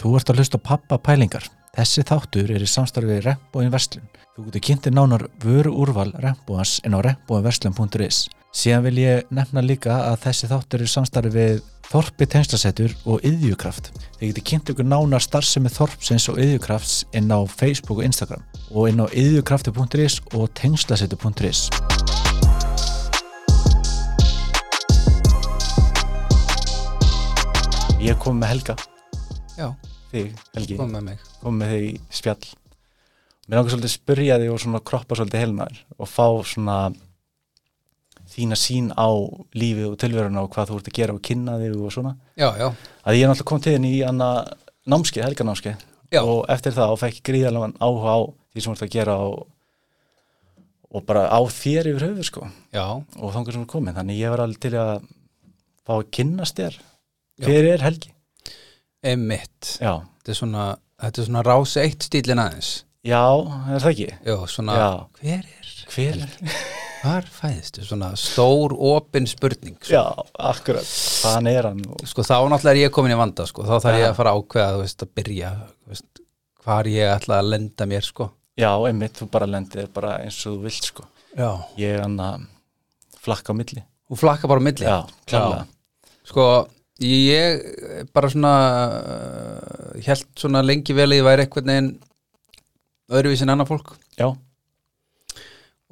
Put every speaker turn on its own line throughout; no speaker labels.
Þú ert að hlusta á pappa pælingar. Þessi þáttur er í samstarfið Rembóin Verslun. Þú getur kynntir nánar vöru úrval Rembóans en á rembóinverslun.is. Síðan vil ég nefna líka að þessi þáttur er í samstarfið Þorpi tengslasettur og Yðjukraft. Þið getur kynntir ykkur nánar starfsemi Þorpsins og Yðjukrafts inn á Facebook og Instagram og inn á yðjukrafti.is og tengslasettur.is. Ég kom með Helga,
Já,
þig Helgi
kom með mig
kom með þig í spjall mér langar svolítið að spyrja þig og svona kroppa svolítið helmaður og fá svona þína sín á lífið og tilveruna og hvað þú ert að gera og kynna þig og svona
Já, já,
að ég er náttúrulega kom til þinn í anna námskeið, helganámskeið
Já.
og eftir það og fekk gríðarlegan áhuga á því sem þú ert að gera og, og bara á þér yfir höfuð sko
já,
og þangar sem þú komin þannig ég var alveg til að fá að kynnast þér
Já.
hver er helgi?
emitt
Já,
Þetta er svona, þetta er svona rási eitt stílin aðeins
já, er það ekki?
Já, svona,
Já.
hver er,
Hver er?
hvar fæðistu? Svona stór, opin spurning sko.
Já, akkurat, hvaðan er hann og,
sko, þá náttúrulega er ég komin í vanda sko. þá þarf
Já.
ég að fara að ákveða, þú veist, að byrja þú veist, hvar ég ætla að lenda mér, sko
Já, einmitt, þú bara lendir bara eins og þú vilt sko
Já,
Ég er hann að flakka á milli
þú flakka bara á milli
Já, klálega
Sko, ég bara svona uh, held svona lengi vel að ég væri einhvern veginn öðruvísin annað fólk
Já,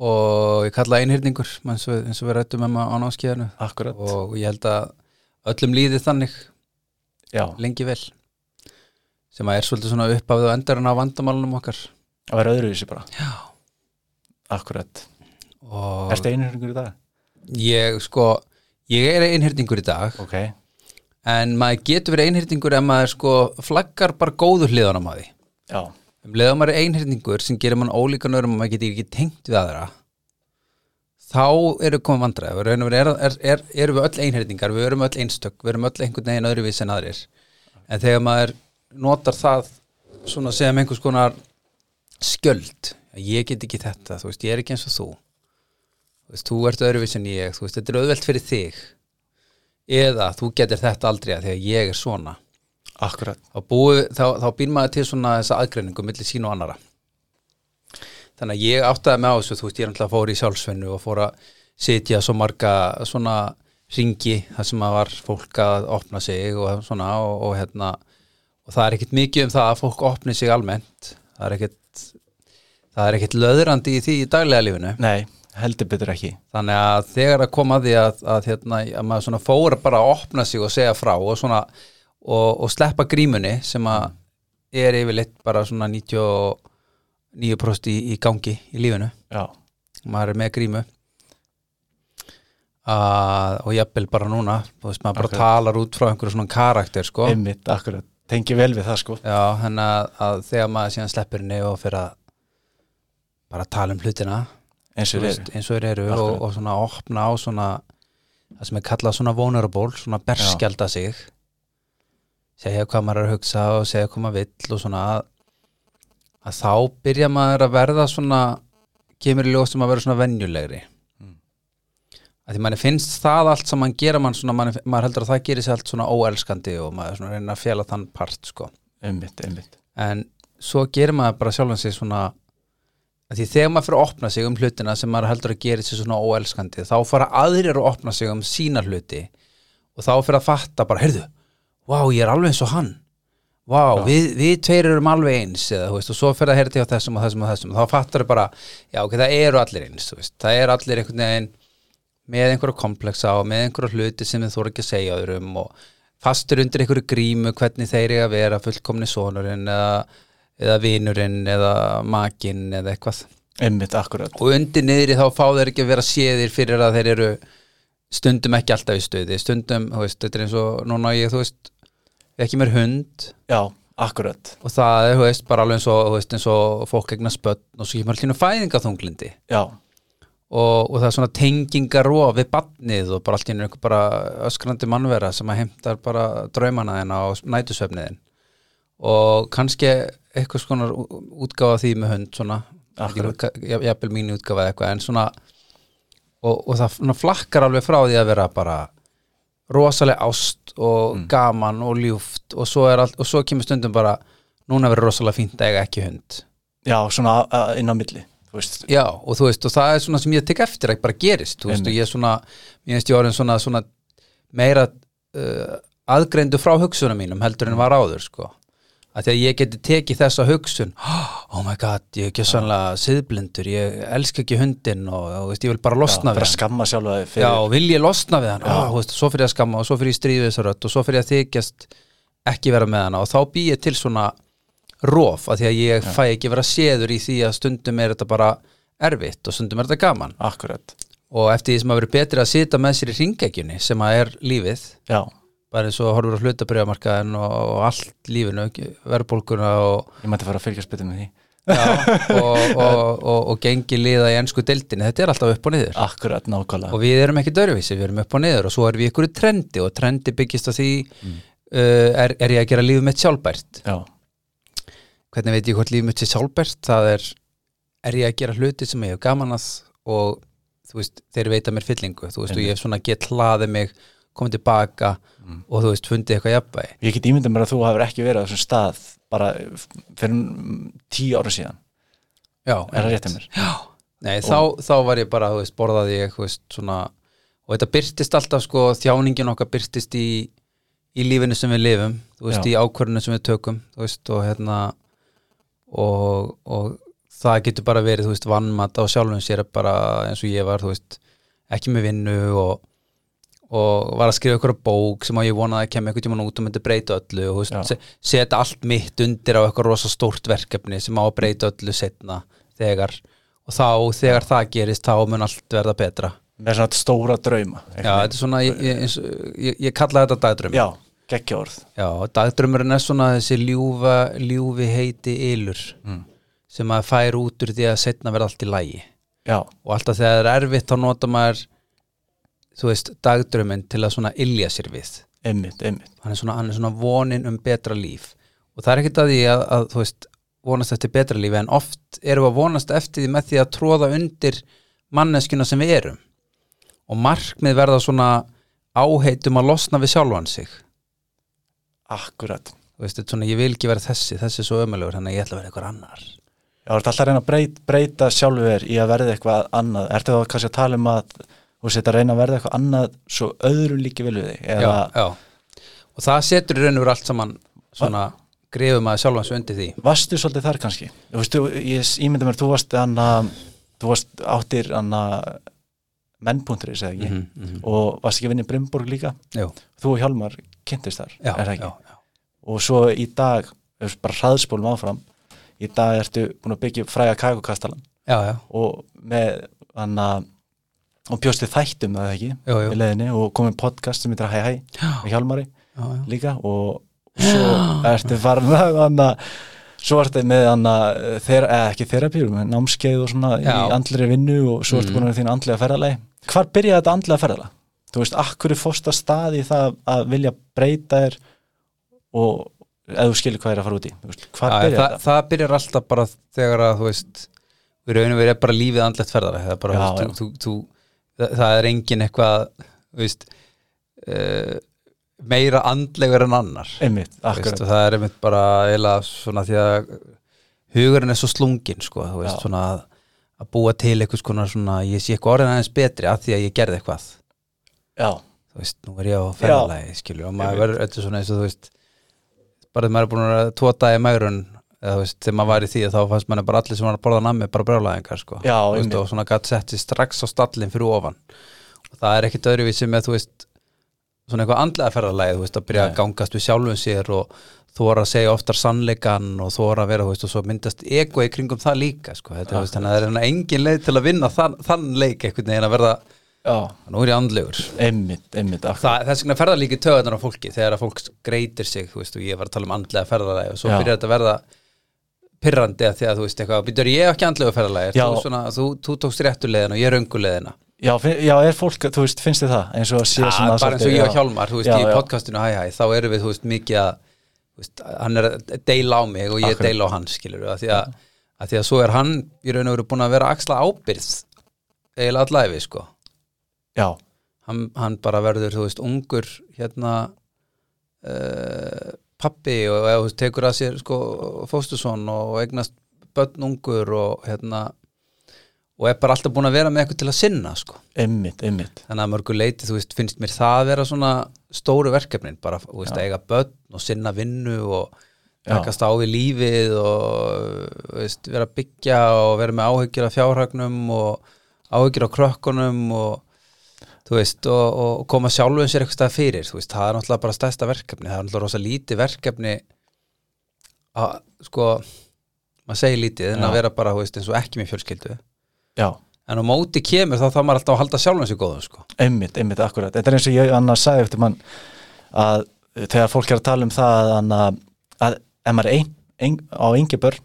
og ég kalla það einhyrningur eins og, eins og við rættum um á náskíðanu
akkurat
og ég held að öllum líði þannig
Já,
lengi vel sem að er svolítið svona upphafið og endurinn á vandamálunum okkar
að vera öðruvísi bara
Já.
Akkurat,
og
ertu einhverjum í dag?
ég sko ég er einhyrningur í dag
Ok,
en maður getur verið einhyrningur ef maður sko flaggar bara góðu hliðanum að því
já,
um leiðum maður er einhyrningur sem gerir mann ólíkan örum og maður getur ekki tengt við aðra þá eru komið vandræði erum er, er, er, erum við öll einhyrningar við erum öll einstök, við erum öll einhvern veginn öðruvís en aðrir en þegar maður notar það svona sem einhvers konar skjöld ég get ekki þetta, þú veist, ég er ekki eins og þú þú veist, þú ert öðruvís en ég þú veist, þetta er auðvelt fyrir þig eða þú getur þetta aldrei af því að ég er svona
akkurat
þá, búi, þá, þá býr maður til svona þessa aðgreiningu milli sín og annara þannig að ég áttaði með á þessu þú veist ég er náttúrulega fór í sjálfsvennu og fór að sitja svo marga svona ringi þar sem að var fólk að opna sig og svona og, og hérna og það er ekkit mikið um það að fólk opni sig almennt það er ekkit það er ekkit löðrandi í því í daglega lífinu
Nei, heldur betur ekki
þannig að þegar að koma að því að, að, hérna, að maður svona fór bara að opna sig og segja frá og svona og, og sleppa grímunni sem að er yfirleitt bara svona 99% í, í gangi í lífinu,
Já,
maður er með grímu að, og jafnvel bara núna þú veist, maður bara
Akkurat.
talar út frá einhverju svona karakter sko,
einmitt, akkurat Tengi vel við það sko
já, þannig að, að þegar maður síðan sleppir henni og fyrir að bara tala um hlutina
Eins
Þú
og
veist,
þeir
eins og þeir eru og,
Akkurat.
og svona opna á svona það sem er kallað svona vulnerable svona berskjálta sig segja hvað maður er að hugsa og segja hvað maður vill og svona að, að þá byrja maður að verða svona kemur í ljós sem að vera svona venjulegri
Mm.
að því manni finnst það allt sem mann gera mann svona, manni, maður heldur að það gerir sér allt svona óelskandi og maður svona reynir að fjala þann part sko
Einmitt, einmitt
en svo gerir maður bara sjálfan sig svona að því þegar maður fyrir að opna sig um hlutina sem maður heldur að gera sér svona óelskandi þá fara aðrir að opna sig um sína hluti og þá fyrir að fatta bara, heyrðu, vá, ég er alveg eins og hann vá,
Já.
við, við tveir erum alveg eins eða, þú veist, og svo fyrir að heyrði á þessum og þessum og þessum og þá fattar þau bara, já, ok, það eru allir eins þú veist, það eru allir einhvern veginn með einhverja kompleksa og með einhverja hluti sem þið þóra ekki að segja öðrum og fastur undir einhverju grímu hvernig þeir eru að vera fullkomni sonurinn eða, eða vinurinn eða makinn eða eitthvað
Einmitt, akkurat
og undir niðri þá fá þeir ekki að vera séðir fyrir að þeir eru stundum ekki alltaf í stuði stundum, þú veist, þetta er eins og núna á ég, þú veist, ekki mér hund
Já, akkurat
og það er, þú veist, bara alveg eins og, þú veist, eins og fólk egnar spötn og svo kemur allir fæðingaþunglindi
Já,
og, og það er svona tengingar og við badnið og bara allt í einu einhver bara öskrandi mannvera sem að heimtar bara draumana þeirna og nætusvefniðin og kannski eitthvað svona útgáfa af því með hund svona,
Akkurat.
Ekki, ja- jafnvel mín útgáfa eða eitthvað en svona og, og það svona flakkar alveg frá því að vera bara rosalega ást og gaman og ljúft og svo, er allt, og svo kemur stundum bara núna verður rosalega fínt að eiga ekki hund
já, svona uh, inn á milli þú veist,
Já, og þú veist, og það er svona sem ég tek eftir að bara gerist, þú veist,
Einmitt.
og ég er svona ég veist, ég orðin svona, svona meira uh, aðgreindu frá hugsunum mínum heldur en var áður, sko að því að ég geti tekið þessa hugsun oh my god, ég er ekki sannlega siðblindur, ég elska ekki hundin og, og veist, ég vil bara
já,
losna
bara
við hann
skamma sjálfa þig
Já,
fyrir
og vil ég losna við hann
Já.
Ó, þú veist, svo fyrir ég að skamma og svo fyrir ég stríðu þessu rödd og svo fyrir ég að þykjast ekki vera með hana og þá bý ég til svona rof að því að ég fæ ekki vera séður í því að stundum er þetta bara erfitt og stundum er þetta gaman
akkurat,
og eftir því sem að vera betri að sita með sér í ringekjunni sem að er lífið
já,
bara eins og horfur á hlutabriðamarkaðin og, og allt lífinu, ekki- verðbólguna og,
ég mætti fara að fylgjast betur með því
og, og, og, og gengi liða í ennsku deildinni, þetta er alltaf upp og niður
akkurat nákvæmlega,
og við erum ekki dörfísi, við erum upp og niður og svo erum við ykkur í trendi og trendi byggist á því
Mm.
uh, er, er ég að gera lífið mitt sjálfbært
já,
hvernig veit ég hvort lífið mitt sé sjálfbært það er, er ég að gera hluti sem ég hef gaman að og þú veist, þeir veita mér fyllingu þú veist, og ég hef svona get hlaðið mig komið tilbaka
Mm.
og þú veist, fundið eitthvað jafnvægi
ég get ímyndað mér að þú hefur ekki verið á þessum stað bara fyrir mm, tíu ára síðan
Já,
er það
einmitt.
rétt að mér,
Nei, þá, þá var ég bara, þú veist, borðaði ég, þú veist, svona og þetta byrtist alltaf, sko, þjáningin okkar byrtist í, í lífinu sem við lifum, þú veist,
Já.
í ákvörðinu sem við tökum, þú veist, og hérna og, og það getur bara verið, þú veist, vannmat á sjálfum sér bara eins og ég var, þú veist ekki með vinnu og og var að skrifa ykkur bók sem að ég vonaði að kemja einhvern tímann út og myndi breyta öllu og
Já.
þú veist, se- setja allt mitt undir á eitthvað rosa stórt verkefni sem á að breyta öllu setna þegar og þá, þegar það gerist þá mun allt verða betra
með svona stóra drauma
Já, þetta er svona, ég, ég, eins og- ég, ég kalla þetta dagdraum
já geggja orð,
Já, dagdraumurinn er svona þessi ljúfa, ljúfi heiti ylur mm. sem að fær út úr því að setna verða allt í lægi
já,
og alltaf þegar það er erfitt þá nota maður þú veist, dagdrauminn til að svona ylja sér við
einmitt, einmitt
hann er svona, hann er svona vonin um betra líf og það er ekkert að því að, að þú veist, vonast eftir betra lífi en oft erum við að vonast eftir því með því að tróða undir manneskuna sem við erum og markmið verða svona áheitum að losna við sjálfan sig þú
akkurat,
veist, þetta er svona, ég vil ekki vera þessi þessi er svo ömulegur, þannig að ég ætla að vera eitthvað annar
já, þú ert alltaf að reyna að breyta, breyta sjálfu þér í að verða eitthvað annað ertu þá kannski að tala um að þú setja að reyna að verða eitthvað annað svo öðrum líki vel við þig eða,
já, já. og það setur í raun og veru allt saman svona, grefum að sjálfan sig undir því
varstu svolítið þar kannski þú veist, þú- ég s- ímynda mér, þú varst anna, þú varst áttir anna, mennpunktri, segði ekki
Mhm, mhm.
og varst ekki að vinna í Brimborg líka
Jú,
þú og Hjálmar kynntist þar
já,
er það ekki?
já, já.
og svo í dag, þú veist, bara hraðspólum áfram í dag ertu búin að byggja upp fræga kakukastalan
já, já,
og með hann að og bjóstu þættum það ekki
Jú, jú.
í leiðinni og komið podcast sem heitir Hæ Hæ
Já.
með Hjálmari
já, já.
líka og svo ertu farin að hann að svo ertu með hann að þeir, eða ekki þerapýrum, en námskeið og svona
Já. Mm.
í andleri vinnu og svo ertu búin að vera í þín andlega ferðalagi hvar byrjaði þetta andlega ferðalag? þú veist, akkur er fórsta stað í það að vilja breyta þér og eða þú skilur hvað er að fara út í Þú veist, hvar
Já,
byrjaði
það,
þetta?
það byrjar alltaf bara þegar að þú veist við raunum við er bara lífið andlegt ferðara það er bara,
Já,
þú, veist, Þú, þú, það, það er engin eitthvað þú veist, uh, meira andlegur en annar
einmitt,
þú veist,
akkurat,
og það er einmitt bara eila svona því að hugurinn er svo slungin sko, þú veist,
Já.
svona að, að búa til eitthvað svona, svona ég sé eitthvað orðin aðeins betri að því að ég gerði eitthvað
já,
þú veist, nú er ég á ferðalagi skilur, og maður verður öllu svona eins og þú veist bara þegar maður er búin að tóta í magrun eða þú veist, þegar maður var í því þá fannst maður bara allir sem var að borða nammi bara brjálæðingar sko,
Já,
Þú veist,
einmitt.
og svona gætt sett sér strax á stallin fyrir ofan og það er ekkit öðruvísi með þú veist svona eitthvað andlega ferðalagi, þú veist, að byrja
Nei.
að gangast við sjálfum sér og þóra að segja oftar sannleikan og þóra að vera, þú veist, og svo myndast ego í kringum það líka, sko, þetta, þú veist, þannig að það er hérna engin leið til að vinna þann, þann leik einhvern veginn að verða,
já
nú er ég andlegur
einmitt, einmitt, akkurat
það, þess vegna ferða líka töðunar á fólki þegar að fólk greitir sig, þú veist, og ég var að tala um andlega ferðalagi og svo
Já.
byrjar þetta að verða pirrandi að því að þú veist eitthvað býtur ég er ekki andlega ferðalagi,
Já.
þú, svona, þú, þú tókst réttu leiðina og ég röngu leiðina
Já, fin- já, er fólk, þú veist, finnst þið það eins og að sé
Ja,
svona
Ah, bara eins og
svolítið,
ég og
já.
Hjálmar, þú veist,
Já,
í
já.
podcastinu hæ hæ, þá erum við, þú veist, mikið að þú veist, hann er að deila á mig og ég
Akkurat.
deila á hann, skilur við, að því að, að því að svo er hann í raun og veru búin að vera að axla ábyrð eiginlega allæfi, sko
Já,
hann, hann bara verður, þú veist, ungur hérna uh, pappi og eða, þú veist, tekur að sér sko, fósturson og eignast börn ungur og hérna og er bara alltaf búin að vera með eitthvað til að sinna sko.
Einmitt, einmitt.
þannig að mörgu leiti, þú veist, finnst mér það að vera svona stóru verkefnin, bara, þú veist,
Já.
eiga börn og sinna vinnu og
Já.
takast á við lífið og, þú veist, vera að byggja og vera með áhyggjur af fjárhagnum og áhyggjur af krökkunum og, þú veist, og, og koma sjálfum sér eitthvað stað fyrir, þú veist, það er náttúrulega bara stærsta verkefni, það er náttúrulega rosa lítið verkefni að, sko, maður segir lítið en
Já.
að vera bara, þú veist, eins og ekki með fjölskyldu
Já,
en á móti kemur þá þá maður alltaf að halda sjálfum sér góðum sko.
einmitt, einmitt, akkurat. Þetta er eins og ég annars sagði eftir mann að þegar fólk er að tala um það að, að, að ef maður er ein, ein, á engi börn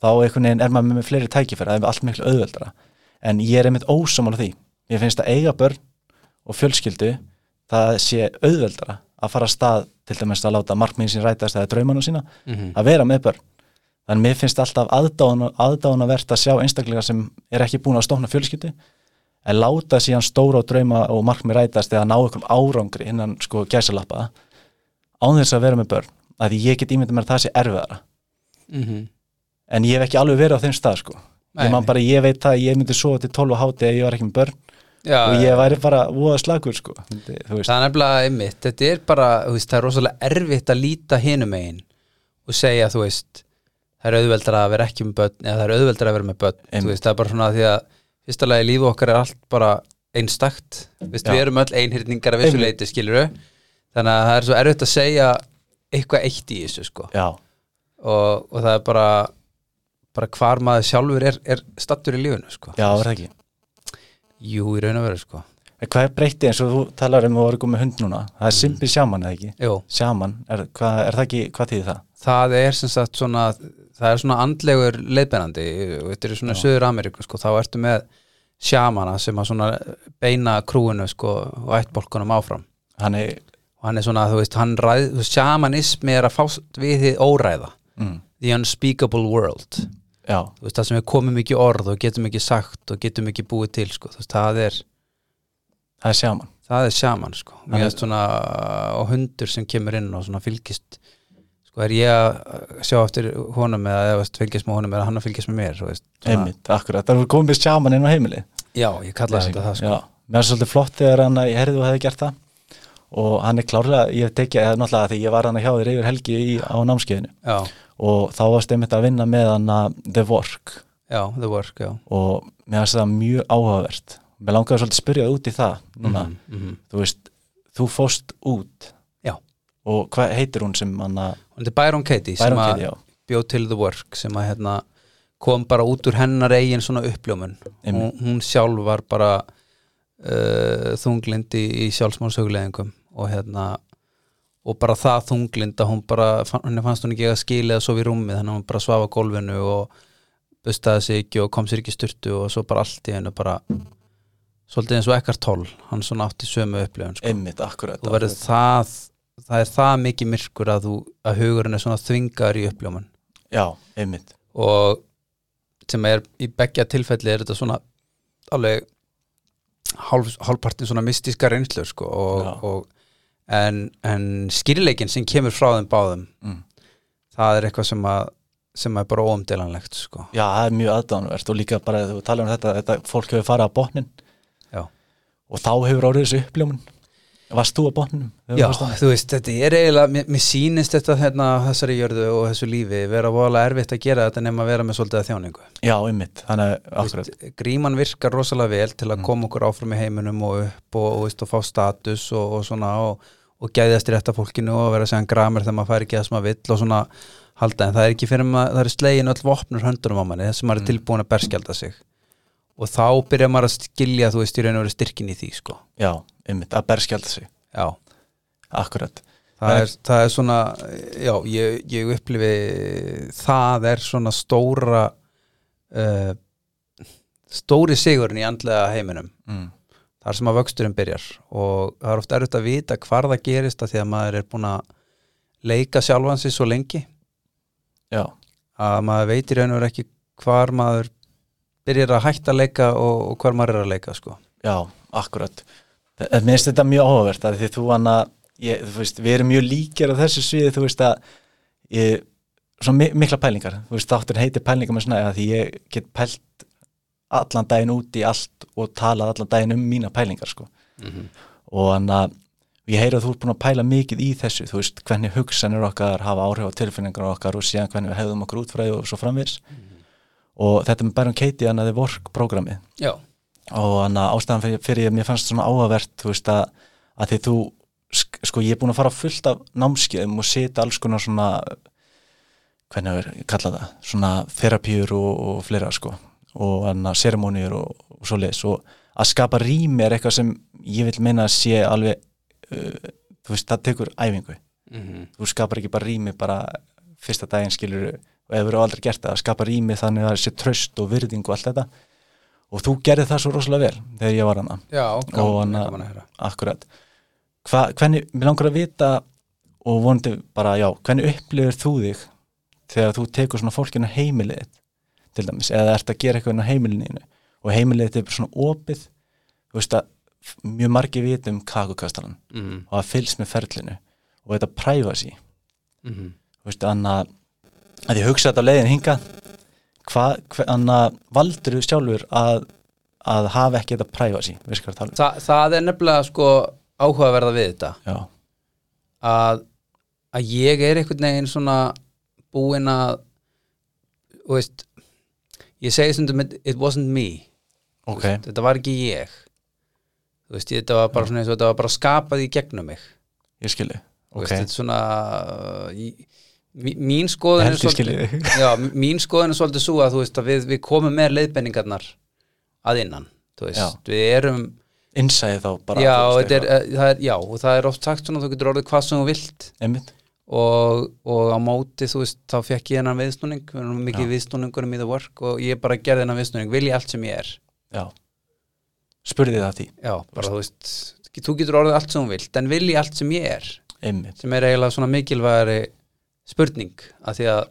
þá einhvern veginn er maður með fleiri tækifæra, það er allt miklu auðveldara. En ég er einmitt ósamála því. Ég finnst að eiga börn og fjölskyldu það sé auðveldara að fara að stað til dæmis að láta markmiðin sín rætast eða draumana sína
-hmm.
að vera með börn þannig mér finnst alltaf aðdánavert að sjá einstaklega sem er ekki búin að stofna fjölskyldu en láta síðan stóra og drauma og markmið rætast eða ná einhverjum árangri innan sko gæsalappa án þess að vera með börn að því ég get ímyndið mér að það sé erfiðara
Mm -hmm.
en ég hef ekki alveg verið á þeim stað sko ég man bara, ég veit það, að ég myndi svo til 12 og háti að ég var ekki með börn
Já,
og ég væri bara voða slagur sko þú veist,
það er nefnilega einmitt þetta er bara, þú veist, það er rosalega erfitt að líta hinum einn og segja, þú veist, það er auðveldar að vera ekki með börn eða það er auðveldar að vera með börn
Einmitt.
þú veist, það er bara svona því að fyrsta lagi lífi okkar er allt bara einstakt Þú veist,
Já.
við erum öll einhyrningar að vissu
Einmitt.
leiti, skilur þannig að það er svo erfitt að segja eitthvað eitt í þessu, sko
já,
og, og það er bara bara hvar maður sjálfur er, er stattur í lífinu sko.
já, er það ekki
Jú, í raun og veru sko
En hvað er breytti eins og þú talar um að voru komið hund núna það
Mm.
er simpi sjáman eða ekki
Jú,
sjaman, er, hva, er það ekki, hvað þýðir það?
það er sem sagt svona það er svona andlegur leiðbennandi þetta er svona Söður Ameríku sko þá ertu með sjamana sem að svona beina krúinu sko og ættbólkunum áfram
Hann er,
og hann er svona, þú veist, hann ræð þú veist, sjamanismi er að fást við þið óræða
mm,
the unspeakable world
já,
þú veist, það sem við komum ekki í orð og getum ekki sagt og getum ekki búið til sko, þú veist, það er
það er sjaman
það er sjaman sko
Það
Mér
er-
finnst svona, og hundur sem kemur inn og svona fylgist sko er ég að sjá eftir honum eða eða veist, fylgist með honum eða hann að fylgist með mér þú veist, svona,
einmitt, akkurat, það voru komið sjaman inn á heimili
já, ég kalla þetta það sko
já, mér er svolítið flott þegar hann að ég herði þú hefði gert það og hann er klárlega, ég tekja eða náttúrulega því ég var hann að hjá þér yfir helgi í, á námskeiðinu
já,
og þá varst einmitt að vinna með hann að The Work
já, the work, já
og mér finnst það mjög áhugavert mér langaði svolítið að spyrja þig út í það núna,
Mhm, mhm.
þú veist, þú fóst út
Já.
og hvað heitir hún sem hann að
og þetta er Byron Katie sem
Byron Katie,
að
já,
bjóð til the work sem að hérna kom bara út úr hennar eigin svona uppljómun hún,
Einmitt.
hún sjálf var bara uh, þunglindi í sjálfsmálsöguleðingum og hérna og bara það þunglind að hún bara fann- henni fannst hún ekki að skila eða sofa í rúmið þannig að hún bara svafa gólfinu og bustaði sig ekki og kom sér ekki í sturtu og svo bara allt í hennu bara svolítið eins og ekkert tól hann svona átti sömu upplifun sko
einmitt, akkurat
þú verður það það er það mikið myrkur að, þú, að hugurinn er svona þvingar í uppljóman
Já, einmitt,
og sem er í begja tilfelli er þetta svona alveg hálf, hálfpartin svona mystíska reynslu sko,
Já.
og, og, en, en skýrleikin sem kemur frá þeim báðum
Mm.
það er eitthvað sem að sem er bara óumdelanlegt sko.
já það er mjög aðdánverst og líka bara þegar þú talar um þetta, þetta fólk hefur farið á botnin
Já.
og þá hefur orðið þessu uppljómun Varst þú á botninum? þegar þú
Já,
varst á-
þú veist, þetta er eiginlega mér, mér sýnist þetta hérna, þessari jörðu og þessu lífi vera voðalega erfitt að gera þetta nema að vera með svolítið að þjáningu
já einmitt, þannig að
Þú
akkurat
veist, gríman virkar rosalega vel til að koma okkur áfram í heiminum og upp og, og, veist, og fá status og, og svona og, og gæðast rétt af fólkinu og vera segjan gramur þegar maður fær ekki það sem maður vill og svona halda en það er ekki fyrir maður, það er slegin öll vopnur höndunum á manni þess að maður er tilbúin að berskjálda sig og þá byrjar maður að skilja þú veist í raun og verið styrkin í því sko
Já, einmitt, að berskjald sig
já,
Akkurat,
það er, það er svona já, ég, ég upplifi það er svona stóra uh, stóri sigurinn í andlega heiminum
mm.
þar sem að vöxturinn byrjar og það er oft erfitt að vita hvar það gerist að því að maður er búin að leika sjálfan sig svo lengi
já,
að maður veitir einhver ekki hvar maður byrjar að hætta að leika og, og hvar maður er að leika sko.
já, akkurat Mér finnst þetta mjög áhugavert að því þú hana, ég, þú veist, við erum mjög líkir á þessu sviði, þú veist að ég, svona mi- mikla pælingar, þú veist, þáttur heitir pælingar með snæði að því ég get pælt allan daginn út í allt og talað allan daginn um mína pælingar, sko.
Mhm.
Og hann að ég heyri að þú ert búin að pæla mikið í þessu, þú veist, hvernig hugsanir okkar hafa áhrif á tilfinningar okkar og síðan hvernig við hefðum okkur útfræði og svo framvegis. Og þetta með Baron Katie, hann að þið vork prógramið
Já,
og þannig að ástæðan fyrir, fyrir ég mér fannst svona áhugavert þú veist að, að því þú sk- sko ég er búin að fara fullt af námskeiðum og setja alls konar svona hvernig hefur ég kallað það svona þerapíur og, og fleira sko og þannig að seremóniur og, og svoleiðis og að skapa rými er eitthvað sem ég vil meina að sé alveg uh, þú veist það tekur æfingu
Mhm.
þú skapar ekki bara rými bara fyrsta daginn skilur og ef þú eru aldrei gert það, að skapa rými þannig að það sé tröst og virðing og allt þetta og þú gerði það svo rosalega vel þegar ég var hana,
já gaman,
hann að-
gaman að heyra
akkurat Hva, hvernig, mér langar að vita og vonandi bara, já, hvernig upplifir þú þig þegar þú tekur svona fólkinu heimilið þitt, til dæmis, eða ert að gera eitthvað inn á heimilinu og heimilið þetta er bara svona opið þú veist að f- mjög margir vita um kakukastalan
Mhm.
og að fylgst með ferlinu og þetta privacy
Mhm.
Þú veist, anna, að ég hugsa þetta á leiðin hinga hvað, hva, anna, valdur þú sjálfur að, að hafa ekki þetta privacy, veist hvað það
Þa, það er nefnilega sko áhugaverða við þetta
já,
að, að ég er einhvern veginn svona búinn að þú veist ég segi stundum it, it wasn't me
ok,
veist, þetta var ekki ég þú veist, þetta var
Mm.
bara svona eins og þetta var bara skapað í gegnum mig
ég skilji ok,
Þú veist, þetta er svona uh, í- mí- mín skoðun er
held ég
svolítið-
skilji þig
já, mí- mín skoðun er svolítið svo að þú veist að við, við komum með leiðbenningarnar að innan, þú veist, við erum
innsæði þá bara
já,
þú
og
veist,
þetta er,
eitthvað.
eh, það er, já, og það er oft sagt svona þú getur orðið hvað sem þú vilt
einmitt,
og, og á móti, þú veist, þá fekk ég hennan viðsnúning, við erum mikið viðsnúningunum í the work og ég bara gerði hennan viðsnúning, vil ég allt sem ég er
já spurði það að því,
já, bara þú veist, þú getur orðið allt sem þú vilt, en vil ég allt sem ég er
einmitt
sem er eiginlega svona mikilvægari spurning að því að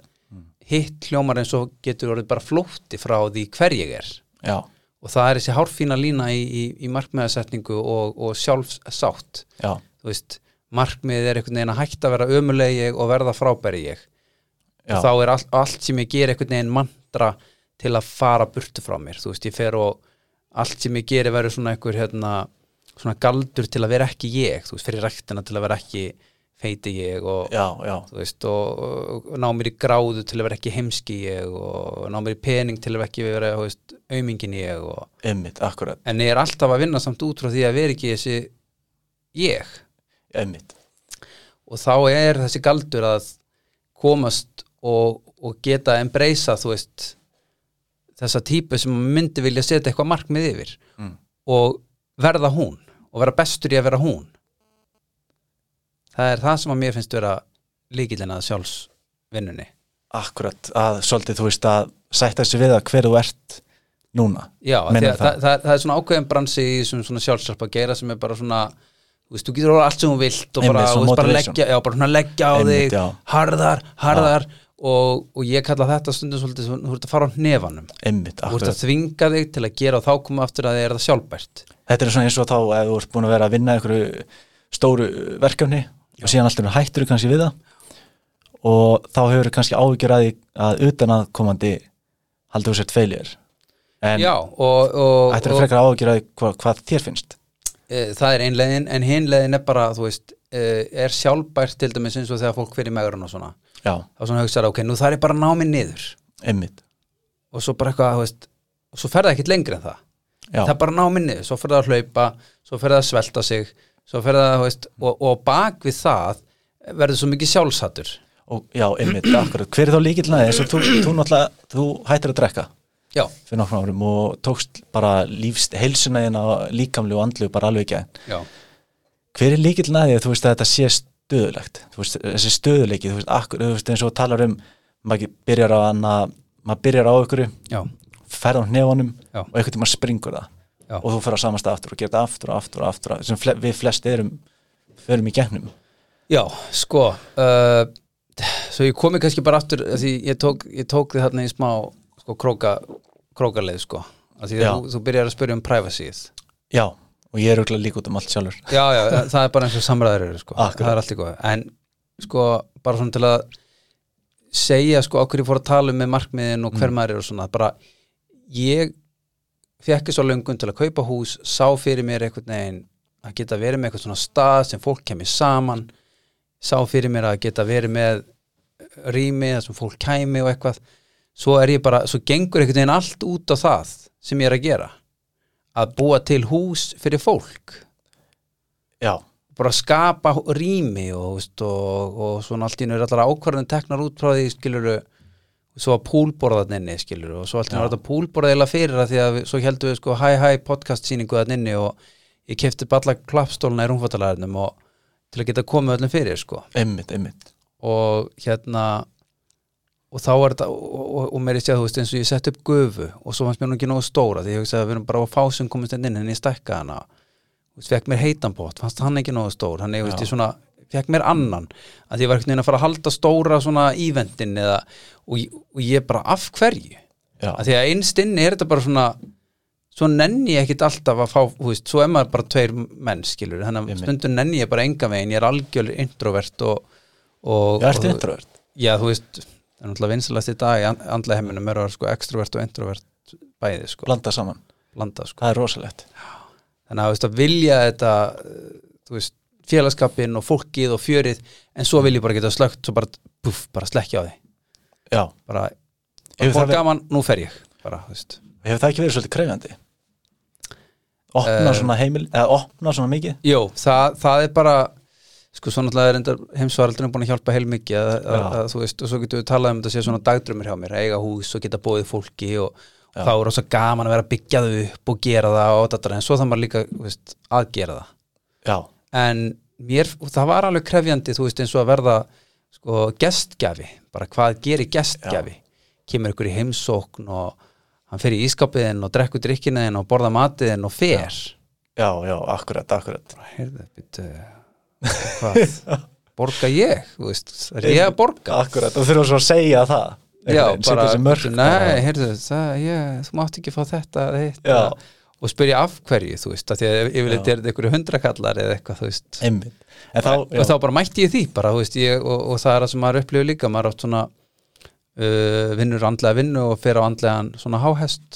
hitt hljómar eins og getur orðið bara flótti frá því hver ég er
já,
og það er þessi hárfína lína í, í, í markmiðasetningu og, og sjálfsátt
já,
þú veist, markmiðið er einhvern veginn að hægt að vera ömulegi ég og verða frábæri ég
já,
og þá er allt, allt sem ég ger einhvern veginn mantra til að fara burtu frá mér þú veist, ég fer og allt sem ég geri verður svona einhver hérna, svona galdur til að vera ekki ég þú veist, fyrir rektina til að vera ekki feiti ég og,
já, já,
þú veist, og, og ná mér í gráðu til að vera ekki heimski ég og ná mér í pening til að vera ekki vera þú veist, aumingin ég og,
einmitt, akkurat
en ég er alltaf að vinna samt út frá því að vera ekki þessi ég
einmitt,
og þá er þessi galdur að komast og, og geta embracea þú veist þessa típu sem maður myndi vilja setja eitthvað markmið yfir
Mm.
og verða hún og vera bestur í að vera hún það er það sem að mér finnst vera líkillin að sjálfsvinnunni
akkurat að svolítið þú veist að sætta sig við að hver þú ert núna,
Já, af því
Meinar
að
það?
það, það, það er svona ákveðin bransi í þessum svona sjálfsarpa geira sem er bara svona þú veist, þú getur orðað allt sem þú vilt og bara,
Einmitt, svona
þú veist, bara,
motivation.
leggja, já, bara svona leggja á
Einmitt,
þig
já.
harðar, harðar og, og ég kalla þetta stundum svolítið svona, þú ert að fara á hnefanum
einmitt,
þú ert
akkurat
að þvinga þig til að gera og þá koma aftur að þið er það sjálfbært
Þetta er svona eins og þá ef þú ert búin að vera að vinna einhverju stóru verkefni og síðan alltaf hættur þú kannski við það og þá hefur þú kannski áhyggjur að því að utan að komandi haldur þú sért feilir en
Já, og, og,
ættir þú
og
frekar áhyggjur að því hva, hvað þér finnst
e, það er einlegin en hinlegin er bara, þú veist e, er sjálfbært til dæmis eins og þegar fólk fyrir megrun og svona,
Já,
þá svona hugsaðar ok, nú þarf ég bara að ná mig niður
einmitt
og svo bara eitthvað, þú veist og svo fer það ekkit lengri en það
Já,
það er bara náminni, svo fer það að hlaupa svo fer það að svelta sig svo fer það, þú veist, og, og bak við það verður svo mikið sjálfsattur
og, já einmitt, akkurat Hver er þá líkillinn að þess að þú, þú náttúrulega þú hættir að drekka
já,
fyrir nokkrum árum og tókst bara lífst heilsuna þína líkamlu og andlu bara alveg ekki
já,
hver er líkil næðið, þú veist, að þetta sé stöðulegt, þú veist, þessi stöðuleiki þú veist, akkur, þú veist, eins og talar um maður ekki byrjar á hana, maður byrjar á ykkur
já,
ferð á hnefanum
Já.
og einhvern tímann springur það
Já.
og þú fer á samasta aftur og gerir þetta aftur og aftur og aftur og- sem fle við flest erum, förum í gegnum
já sko uh, svo ég komi kannski bara aftur af því ég tók, ég tók þið þarna í smá sko, króka, krókaleið sko af því
Já.
að þú, þú byrjar að spyrja um privacyð
já, og ég er auðvitað líka út um allt sjálfur
já, já, það er bara eins og samræður eru sko.
Akkurat.
það er allt í góð en sko, bara svona til að segja sko, okkur ég fór að tala um með markmiðin og hver maður er og svona bara, ég fekk svo löngun til að kaupa hús sá fyrir mér einhvern veginn að geta verið með eitthvað svona stað sem fólk kemur saman sá fyrir mér að geta verið með rými þar sem fólk kæmi og eitthvað svo er ég bara, svo gengur einhvern veginn allt út á það sem ég er að gera að búa til hús fyrir fólk
já,
bara skapa hú- rými og, veist, og, og svona allt í nú er allar ákvarðin teknar út frá því skiluru svo að púlborðan inni skiluru og svo allt í nú er þetta púlborða eða fyrir að því að við, svo heldum við sko hæ hæ podcast síningu þann inni og ég kefti bara klappstólna í rúmfattalæðinum og til að geta komið öllum fyrir sko
einmitt, einmitt
og hérna og þá er þetta og, og, og meiri séð þú veist eins og ég sett upp gufu og svo fannst mér nú ekki nógu stóra því ég hugsaði að við erum bara að fá sem komist inn inn en ég stækka hana Þú veist, fekk mér heitan bótt, fannst hann ekki nógu stór hann ég veist
Já.
ég svona, fekk mér annan að ég var ekkert neina að fara að halda stóra svona íventin eða og, ég- og ég bara af hverju
já,
að því að innst inni er þetta bara svona svo nenni ég ekkit alltaf að fá þú veist, svo er maður bara tveir menn skilur þannig að
Einmitt.
stundum nenni ég bara enga veginn ég er algjör introvert og, og,
ég ertu
og-
introvert
já þú veist, það er náttúrulega vinsalast í dag í andlega heiminum er að vera sko extrovert og introvert bæði sko,
blanda saman,
blanda sko
það er rosalegt
þannig að þú veist að vilja þetta eh, þú veist, félagskapin og fólkið og fjörið, en svo vil ég bara geta slögt svo bara, puff, bara slekja á því
já,
bara, bara
Hefur
fór
það verið-
gaman, nú fer ég bara, þú veist
hefur það ekki verið svolítið krefjandi opna
Eh.
svona heimil eða opna svona mikið
Jó, það, það er bara sko svona alltaf er endar heimsvaraldurinn búin að hjálpa heilmikið að, að,
Já.
að þú veist, og svo getum við talað um þetta sé svona dagdrömmir hjá mér, að eiga hús og geta bóðið fólki og
Já.
þá er það gaman að vera að byggja þau upp og gera það og þetta en svo það maður líka, þú veist, að gera það
já,
en mér, og það var alveg krefjandi þú veist eins og að verða sko, gestgjafi, bara hvað gerir gestgjafi kemur ykkur í heimsókn og hann fer í ískapiðin og drekkur drikkinuðin og borða matiðin og fer
já, já, akkurat, akkurat
heyrðu, býttu hvað, borga ég þú veist, er ég að borga
akkurat, þú þurfum svo að segja það
já,
Einhvern veginn, setja
bara,
þessi mörk bara.
nei, heyrðu það, ég, þú mátt ekki fá þetta eða hitt,
Já.
eða- og spyrja af hverju þú veist, af því að yfirleitt er þetta einhverju hundrakallar eða eitthvað, þú veist
einmitt, en þá, já,
og þá bara mætti ég því bara, þú veist, ég, og, og það er það sem maður upplifur líka maður átt svona uh, vinnur andlega vinnu og fer á andlegan svona háhest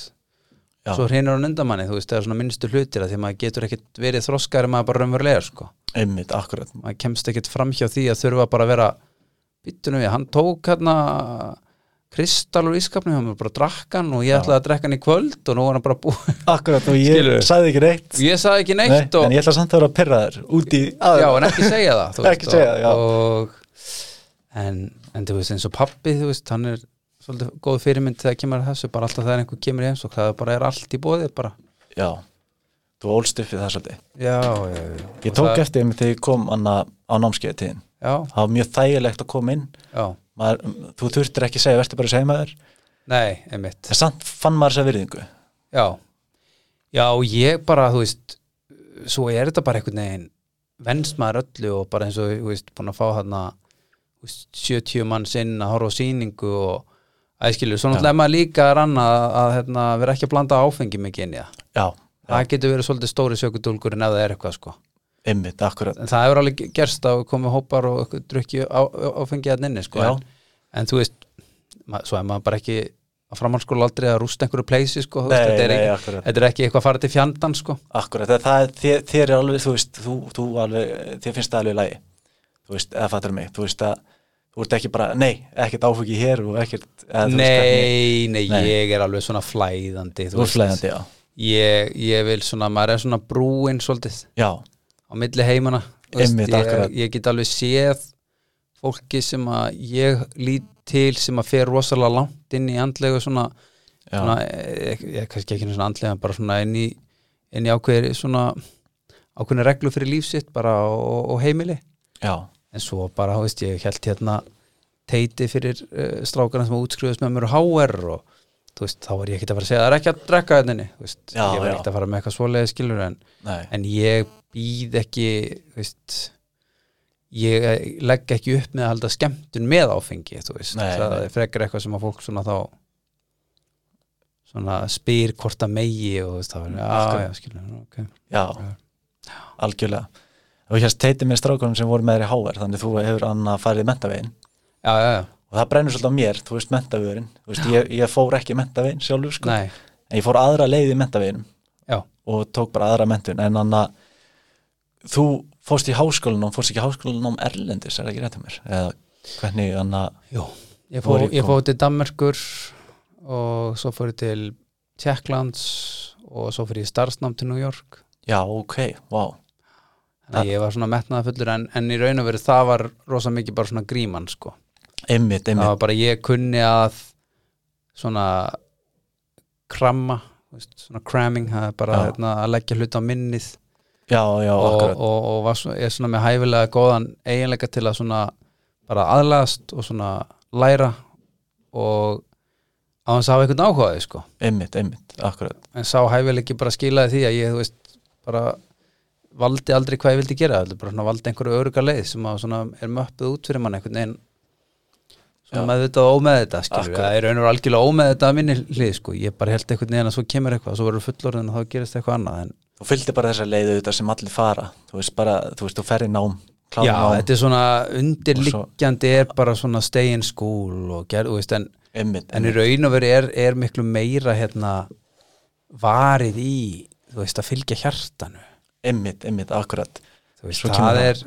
Já.
svo hreinur hann undan manni, þú veist, það er svona minnstu hlutir af því að maður getur ekkit verið þroskar maður er bara raunverulega, sko
einmitt, akkurat
maður kemst ekkert fram hjá því að þurfa bara að vera býttunum við, hann tók hérna kristall úr ískapnum, hann bara drakk hann og ég ætlaði að drekka hann í kvöld og nú var hann bara búið
akkurat og ég
Skilurðu?
sagði ekki neitt
ég sagði ekki
Nei,
neitt
en
og,
ég ætla samt að vera að pyrra þér út í
já, en ekki segja það þú
Ekki segja það, já.
og, en, en þú veist eins og pappi þú veist, hann er svolítið góð fyrirmynd þegar kemur að þessu, bara alltaf þegar einhver kemur í eins og það bara er allt í bóði bara
já, þú ólst upp við það svolítið
já, já, já.
ég tók eftir einmitt þegar ég kom anna, á námskeið tíðin
já,
það var mjög þægilegt að koma inn
já,
maður, þú þurftir ekki að segja, verður bara að segja maður
nei, einmitt
en samt fann maður þessa virðingu
Já, já ég bara, þú veist svo er þetta bara einhvern veginn venst maður öllu og bara eins og þú veist, búin að fá þarna þú veist, 70 manns inn að horfa á sýningu og æskilur, svo náttúrulega er maður líka að ranna að, að hérna, vera ekki að blanda áfengi mikið inn í það
já,
það getur verið svolítið stóri sökudulgurinn ef það er eitthvað sko
einmitt, akkurat
en það hefur alveg gerst að komið hópar og drukki áfengið að nynni sko
Já.
en, en þú veist, ma- svo er maður bara ekki að framhalskóla aldrei að rústa einhverju pleysi sko, þú veist,
nei,
þetta er
nei,
ekki-
akkurat
Þetta er ekki eitthvað að fara til fjandan sko
Akkurat, það, það, þér, þér er alveg, þú veist, þú, þú alveg, þér finnst það alveg í lagi, þú veist, eða fattur mig, þú veist að, þú ert ekki bara, nei, ekkert áfugi hér og ekkert, eða, þú veist, hvernig-
nei, nei,
Nei.
ég er alveg svona flæðandi
þú ert flæðandi, já,
ég, ég vil svona, maður er svona brúin svolítið
já,
á milli heimana Þú
Einmitt, akkurat.
ég, ég get alveg séð fólki sem að ég lít til sem að fer rosalega langt inn í andlega svona,
Já.
svona ég, ég, kannski ekki einu svona andlega en bara svona inn í, inn í ákveðir svona ákveðinu reglu fyrir lífsitt bara og, og heimili
já,
en svo bara, þú veist, ég held hérna teiti fyrir uh, strákarna sem útskriðast með mér og HR og þú veist, þá er ég ekkert að fara að segja það er ekki að drekka henni, þú veist,
Já,
ég var
já.
ekkert að fara með eitthvað svoleiði skilur en,
nei,
en ég býð ekki, þú veist ég eh, legg ekki upp með að halda skemmtun með áfengi þú veist,
Nei,
það
nei.
er frekar eitthvað sem að fólk svona þá svona spyr hvort að megi og þú veist, þá er, já,
Mm, Akkurat.
já, skilur ok,
já, algjörlega og hérst teiti með strákunum sem voru með þér í HR þannig þú hefur annað farið mentavegin
já, já, já,
og það brennur svolítið á mér, þú veist mentavegurinn þú veist, ég, ég fór ekki mentavegin sjálfur sko.
nei,
en ég fór aðra leið í mentaveginum
já
og tók bara aðra mentun en annað þú fórst í háskólanum, fórst ekki í háskólanum erlendis, er það ekki rétt um mér eða hvernig annað,
Jú, ég fór,
Noreg
ég
kom.
fór til Danmerkur og svo fór ég til Tjekklands og svo fór ég í starfsnám til New York
já ok, wow
þannig
Ah.
að ég var svona metnaðafullur en, en í raun og veru það var rosa mikið bara svona gríman sko
einmitt,
það
einmitt,
var bara ég kunni að svona kramma þú veist, svona cramming, það er bara
Já.
hérna, að leggja hluti á minnið
já, já,
og,
akkurat
og, og var svona, ég er svona með hæfilega góðan eiginleika til að svona bara aðlast og svona læra og á hans að hafa einhvern áhugaði sko
einmitt, einmitt, akkurat
en sá hæfileiki bara skilaði því að ég þú veist bara valdi aldrei hvað ég vildi gera heldur bara svona valdi einhverju öruga leið sem að svona er möppuð út fyrir mann einhvern veginn svona
Já.
meðvitað og ómeðvitað skilur
Akkurat.
það er raunur algjörlega ómeðvitað að minni hlið sko ég bara held einhvern veginn að svo kemur eitthvað svo verður fullorðin og þá gerist eitthvað annað en
þú fylgdi bara þessa leiðu þetta sem allir fara þú veist bara, þú veist, þú ferði nám klára
já,
nám,
þetta er svona undirliggjandi er bara svona stay in school og gerð, þú veist, en,
einmitt,
en í
einmitt.
raun og veru er, er miklu meira hérna varið í, þú veist, að fylgja hjartanu
einmitt, einmitt, akkurat
þú veist,
Svo
það
kemur það.
er,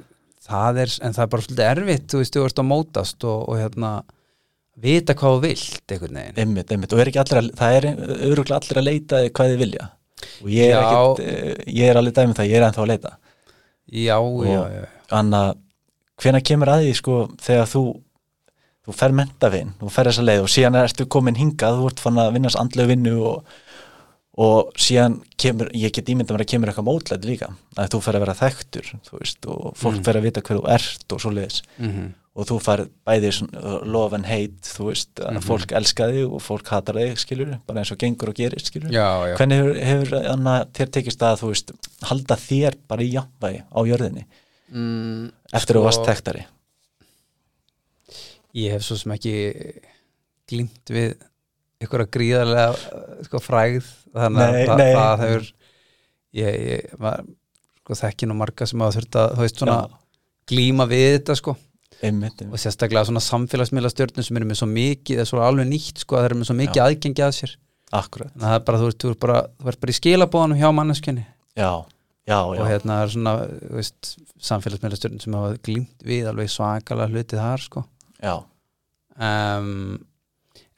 það er en það er bara svolítið erfitt, þú veist, þú ert að mótast og, og hérna vita hvað þú vilt, einhvern veginn
einmitt, einmitt, og er ekki allir að, það er öruglega allir að leita í hvað þið vilja og ég er,
Já.
ekkit, eh, ég er alveg dæmið það, ég er ennþá að leita
já, já, já,
Anna, hvenær kemur að því sko þegar þú þú fer mentavinn, þú fer þessa leið og síðan ertu komin hingað, þú ert fann að vinnast andlegu vinnu og, og síðan kemur, ég get ímynda mér að kemur eitthvað mótlæti líka, að þú fer að vera þekktur þú veist, og fólk
Mm.
fer að vita hver þú ert og svoleiðis,
Mm -hmm.
og þú fer bæði svona, uh, love and hate, þú veist að
Mhm.
fólk elska þig og fólk hatar þig skilur, bara eins og gengur og gerist skilur
já, já.
hvernig hefur, hefur Anna, þér tekist að þú veist, halda þér bara í jafnvægi á jörðinni,
Mm,
eftir að þú
Sko-
varst þekktari
ég hef svo sem ekki glýmt við einhverja gríðarlega eh, sko, frægð þannig
Nei,
að það,
nei.
það hefur ég, ég var, sko, þekki nú marga sem hafa þurft að þú veist, svona, glíma við þetta sko.
einmitt, einmitt.
og sérstaklega svona samfélagsmiðla sem eru með svo mikið, það er svo alveg nýtt sko, það eru með svo mikið aðgengi að sér
akkurat,
þannig að það er bara, þú veist, þú er bara, þú er bara í skilabóðanum hjá manneskjunni
já, já, já
og hérna það er svona, þú veist samfélagsmiðla sem hafa glímt við alveg svakalega hluti þar sko.
já,
um,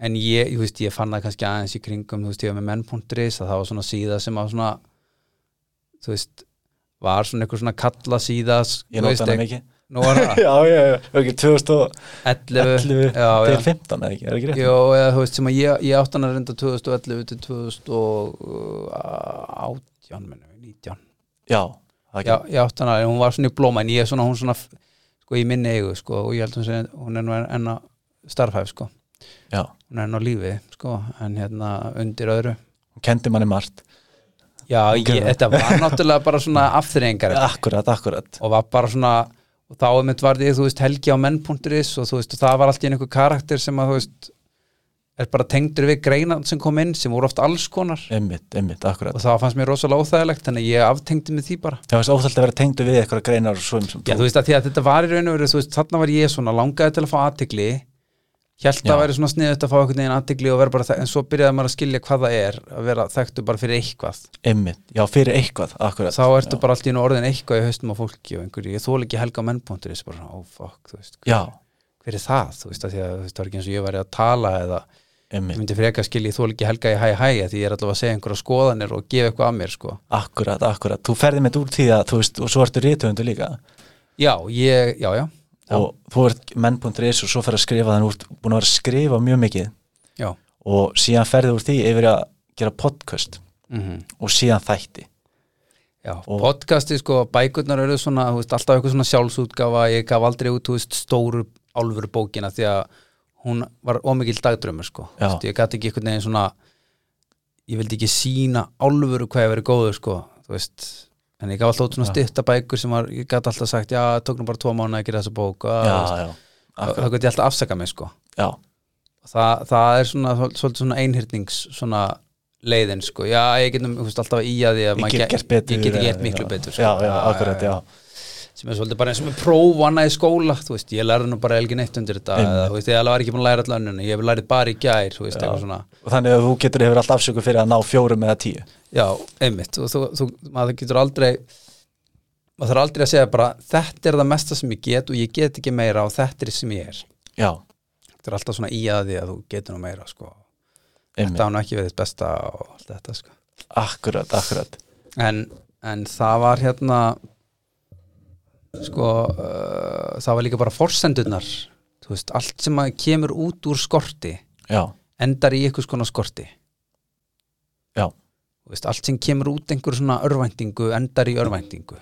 en ég, ég veist, ég fann það kannski aðeins í kringum, þú veist, ég var með menn.ris að það var svona síða sem var svona þú veist, var svona einhver svona kalla síða
ég nota hana mikið
nú var það,
já, já, já, ekki 2011
11 já,
til
já.
15 eða ekki, er ekki rétt
Jó, eða þú veist sem að ég, ég átt hann að reynda 2011 til eh, 2018 minnum, 19
já, það
já,
ekki,
ég átti hana, en hún var svona í blóma en ég er svona, hún svona, sko, í minni eigu sko, og ég held hún sé, hún er nú enn að starfhæf, sko,
já,
hún er enn á lífi sko, en hérna undir öðru
hún kendi manni margt
já, ég,
gerði það.
þetta var náttúrulega bara svona afþreyingar
akkurat, akkurat,
og var bara svona og þá um einmitt var því, þú veist, helgi á menn.is og þú veist, og það var allt í einu einhver karakter sem að, þú veist, er bara tengdur við greinan sem kom inn, sem voru oft alls konar
einmitt, einmitt, akkurat
og það fannst mér rosalega óþægilegt, þannig að ég aftengdi með því bara
það var óþælt að vera tengdu við eitthvað greinar og svo sem
Já, þú veist að því að þetta var í raun og veru, þú veist, þarna var ég svona langaði til að fá aðtegli held
Já.
að væri svona sniðut að fá einhvern veginn aðtegli og vera bara þekkt, en svo byrjaði maður að skilja hvað það er að vera þekktu bara fyrir eitthvað
einmitt, já, fyrir eitthvað, akkurat
þá ertu bara allt í nú orðin eitthvað í haustum á fólki og einhverju, ég þól ekki helga mennbóndur þessi bara, ó fuck, þú veist,
já,
hver er það þú veist að því að þú veist, það var ekki eins og ég væri að tala eða ég
einmitt,
myndi frekar skilja, ég þól ekki helga í hæ hæ af því ég er allavega að segja einhverja skoðanir og gefa eitthvað að mér sko.
akkurat, akkurat þú ferði með úr því að, þú veist, og svo ertu rithöfundu líka
Já, ég, já, já,
og þú ert menn.is og svo fer að skrifa þannig úr, búin að vera að skrifa mjög mikið
já.
og síðan ferði úr því yfir í að gera podcast
Mm
og síðan þætti
Já,
Og-
podcasti sko, bækurnar eru svona, þú veist, alltaf eitthvað svona sjálfsútgafa, ég gaf aldrei út, þú veist, stóru álfur bókina því að hún var ómikil dagdrömmur sko, Þú
Já.
veist, ég gæti ekki einhvern veginn svona, ég vildi ekki sína álfuru hvað ég verið góður sko, þú veist, en ég gaf alltaf út svona
Já.
stutta bækur sem var, ég gæti alltaf sagt, já, það tók nú bara tvo mánuði að gera þessa bók, og, þú veist,
já, já,
þá
akkurat,
þá gæti ég alltaf afsaka mig sko,
já,
það, það er svona, svol- svolítið svona einhyrnings, svona leiðin sko, já, ég getum þú veist, alltaf í að því að
ég
maður
get
ge-
gert betur
ég get
eða-
gert miklu
já.
betur sko.
já, já, akkurat, já,
sem er svolítið bara eins og með próf og annað í skóla þú veist, ég lærði nú bara ekki neitt undir þetta
Einmitt.
eða, þú veist, ég alveg var ekki búin að læra allan önnuna ég hef lærið bara í gær, þú veist, eitthvað svona
og þannig að þú getur hefur allt afsöku fyrir að ná fjórum eða tíu
já, einmitt, og þú, þú, maður getur aldrei maður þarf aldrei að segja bara þetta er það mesta sem ég get og ég get ekki meira og þetta er sem ég er
já,
þetta er alltaf svona í að því að þú getur nú meira sko.
einmitt,
þetta án ekki verið besta og allt þetta sko.
akkurat, akkurat
en, en það var hérna sko uh, það var líka bara forsendurnar þú veist, allt sem að kemur út úr skorti
já,
endar í einhvers konar skorti
já,
Þú veist, allt sem kemur út einhver svona örvæntingu endar í örvæntingu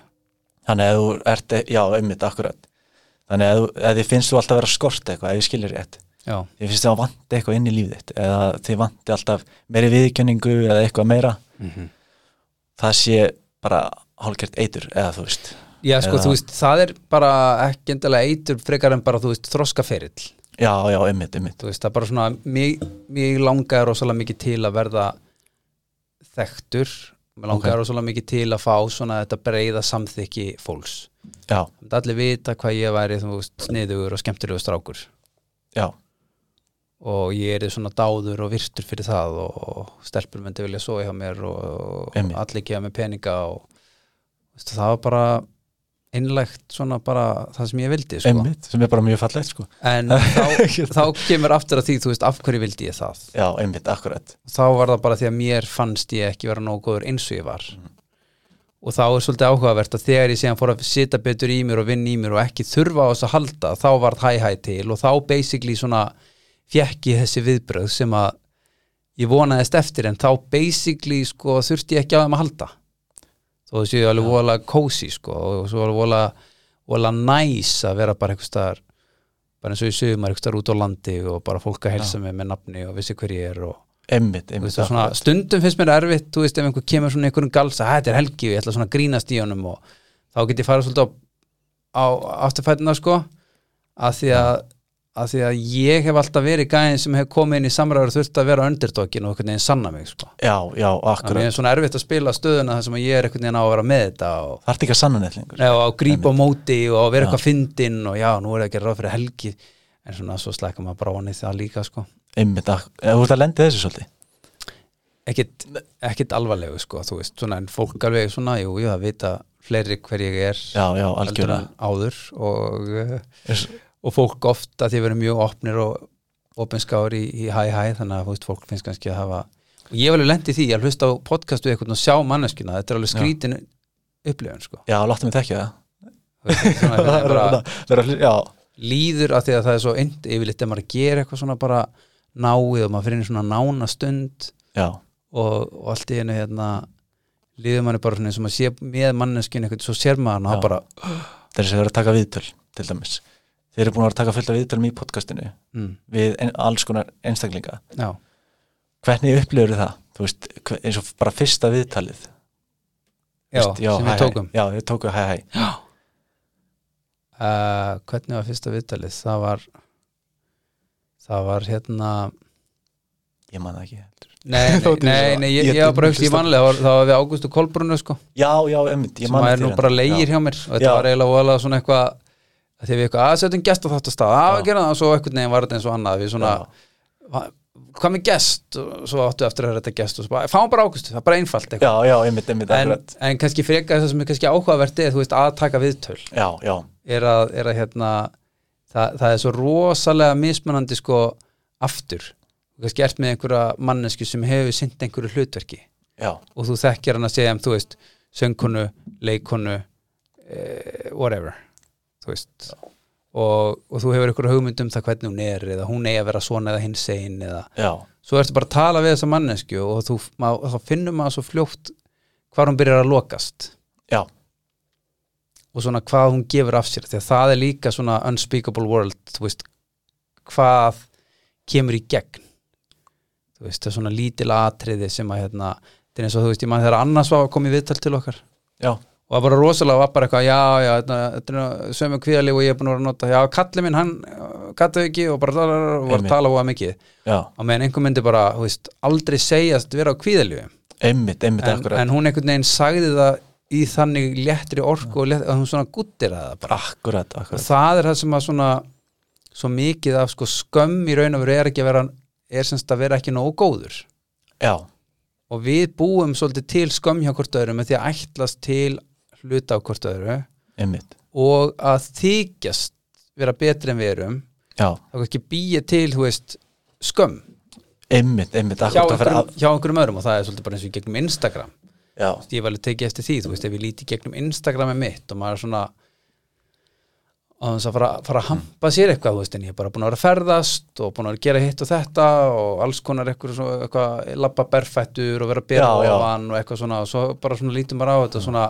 þannig að þú ert e- já, einmitt, akkurat þannig að, þú, að þið finnst þú alltaf að vera skort eitthvað ef ég skilir rétt,
já,
þið finnst það að vanta eitthvað inn í lífið þitt eða þið vanti alltaf meiri viðkjöningu eða eitthvað meira það sé bara hálfgert eitur eða þú veist,
já sko
Eða-
þú veist, það er bara ekki endilega eitur frekar en bara þú veist þroskaferill
já, já, einmitt, einmitt
þú veist, það er bara svona mig, mig langaði rosalega mikið til að verða þekktur mig langaði
Ok.
rosalega mikið til að fá svona þetta breyða samþykki fólks
já,
Það myndi allir vita hvað ég væri þú veist, sniðugur og skemmtilegur strákur
já,
og ég er svona dáður og virtur fyrir það og stelpur myndi vilja svo hjá mér og
Einmitt.
allir gefa mér peninga og veistu, það var bara innlegt svona bara það sem ég vildi sko.
einmitt sem er bara mjög fallegt sko
en þá, þá kemur aftur að því þú veist af hverju vildi ég það
já, einmitt, akkurat
þá var það bara því að mér fannst ég ekki vera nógu góður eins og ég var og þá er svolítið áhugavert að þegar ég síðan fór að sita betur í mér og vinna í mér og ekki þurfa á þess að halda þá varð hæ-hæ til og þá basically svona fjekk ég þessi viðbröð sem að ég vonaðist eftir en þá basically sko þurfti ég ekki á þeim að halda þó þessi ég alveg vola cozy sko og svo alveg vola, vola næs að vera bara einhvers staðar bara eins og ég sögum maður einhvers staðar út á landi og bara fólk að helsa mig með nafni og vissi hver ég er og
einmitt,
Þú
einmitt,
veist, og svona, stundum finnst mér erfitt þú veist ef einhver kemur svona í einhverjum galsa "Hæ, þetta er helgi og ég ætla svona að grínast í honum og þá get ég farið svolítið á, á afturfætina sko að því að, að því að ég hef alltaf verið gæðin sem hef komið inn í samræður og þurft að vera underdogin og einhvern veginn sanna mig sko
já, já,
þannig að
akkurat
mér er svona erfitt að spila stöðuna þar sem að ég er einhvern veginn á að vera með þetta og,
það ert ekki að sanna neitt lengur
og að grípa á móti og að vera eitthvað fyndin og já, nú er það að gera ráð fyrir helgi en svona svo slækka maður bara vonið það líka sko
einmitt, ak- eða þú ert að lendi þessu svolítið
ekkit, ekkit alvarlegu sko, þú veist, svona en fólk alveg svona, jú, jú, það vita fleiri hver ég er
já, já,
heldur
algjörlega
en áður og, eh,
Eins-
og fólk oft að því verið mjög opnir og opinskáður í, í hæ hæ þannig að þú veist, fólk finnst kannski að hafa og ég hef alveg lent í því, ég hlusta á podcastu eitthvað og sjá manneskina, þetta er alveg
Já.
skrítin upplifun sko
já, láttu mig þekja það
Þú veist, svona,
Það
þetta er
er
bara,
að- það er að- já,
líður að því að það er svo ynd yfirleitt ef maður er að gera eitthvað svona bara náið og maður finnir svona nána stund
já,
og, og allt í hennu hérna líður manni bara svona eins og maður sé með manneskinu eitthvað, svo sér maður hann og
Já.
það bara
það er sem verið að taka viðtöl til dæmis, þeir eru búin að vera að taka fullt af viðtölum í podcastinu
mm,
við ein- alls konar einstaklinga
já,
hvernig upplifur það, þú veist hve- eins og bara fyrsta viðtalið
já,
Veist, já,
sem
hæ,
við tókum
hæ, já, við tókum hæ, hæ,
uh, hvernig var fyrsta viðtalið það var það var hérna
ég man það ekki heldur.
nei, nei,
Þótti
nei,
svo-
nei ég,
ég-
ég var bara ekki
hlusta.
vanlega það var, það var við Ágúst og Kolbrunnu sko
já, já, einmitt, ég
sem
man
er
eftir
nú
henni.
bara leigir hérna
já,
hjá mér og þetta
Já.
var eiginlega voðalega svona eitthvað að því við eitthvað aðsettum gest á þátt að staða að gera það og svo eitthvað neginn var þetta eins og annað við svona, "Va- hvað með gest og svo áttu eftir að höra þetta gest og svo bara, fáum bara águst, það er bara einfalt eitthvað
já, já, einmitt, einmitt,
en,
akkurat
en kannski freka það sem er kannski áhugavert er, þú veist, að taka viðtöl
já, já,
er að, er að hérna það, það er svo rosalega mismunandi sko aftur Þú kannski ert með einhverja mannesku sem hefur sinnt einhverju hlutverki
já,
og þú þekkir hann að segja um, þú veist, söngkonu, leikonu eh, whatever þú veist og, og þú hefur einhverju hugmynd um það hvernig hún er eða hún eigi að vera svona eða hins einn eða
já,
svo ertu bara að tala við þessa mannesku og þú, mað, þá finnum maður svo fljótt hvar hún byrjar að lokast
já,
og svona hvað hún gefur af sér því að það er líka svona unspeakable world þú veist, hvað kemur í gegn þú veist, það er svona lítil atriði sem að hérna, þetta er eins og þú veist, ég mann þegar annars var að koma í viðtal til okkar
já,
og það bara rosalega var bara eitthvað, já, já, þetta, þetta er sömu kvíðalíf og ég er búin að vera að nota, já, kallið minn hann uh, gata ekki og bara lalar, og var að
Einmitt.
tala á mikið
já,
á meðan einhver myndi bara, þú veist, aldrei segjast vera á kvíðaljöfum
einmitt, einmitt
en,
akkurat,
en hún einhvern veginn sagði það í þannig léttri orku og létt, að hún svona guttir að það bara
Ah, akkurat,
og
akkurat
það er það sem að svona svo mikið af sko skömm í raun og veru er ekki að vera er semst að vera ekki nógu góður
já,
og við búum svolítið til skömm hjá hvort öðru með því að ætlast til hluta á hvort öðru
einmitt,
og að þykjast vera betri en við erum
já
þá kannski býja til, þú veist, skömm
einmitt, einmitt,
hjá
akkurat að fara
einhverjum,
að,
hjá einhverjum öðrum og það er svolítið bara eins og í gegnum Instagram
já,
ég var alveg tekið eftir því, þú veist, ef ég líti í gegnum Instagramið mitt og maður er svona og þess að fara, fara að hampa sér eitthvað, þú veist, en ég er bara búin að vera að ferðast og búin að vera að gera hitt og þetta og alls konar eitthvað, svona, eitthvað labba berfættur og vera að bera
Já, já.
ofan og eitthvað svona og svo bara svona lítum bara á þetta svona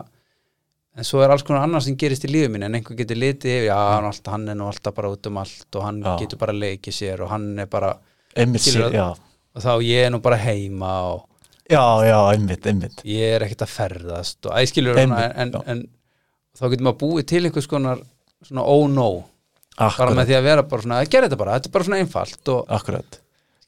en svo er alls konar annars sem gerist í lífið minni en einhver getur litið yfir, já, hann, alltaf, hann er nú alltaf bara út um allt og hann
Já.
getur bara leikið sér og hann er bara,
einmitt
Skilur
sér, já,
og þá ég er nú bara heima og
já, já, einmitt, einmitt
ég er ekkert að ferðast og æskilur en,
Einmitt,
en,
já.
en þá getur maður búið til einhvers konar svona oh no bara
akkurat,
með því að vera bara svona, að gera þetta bara þetta er bara svona einfalt og
akkurat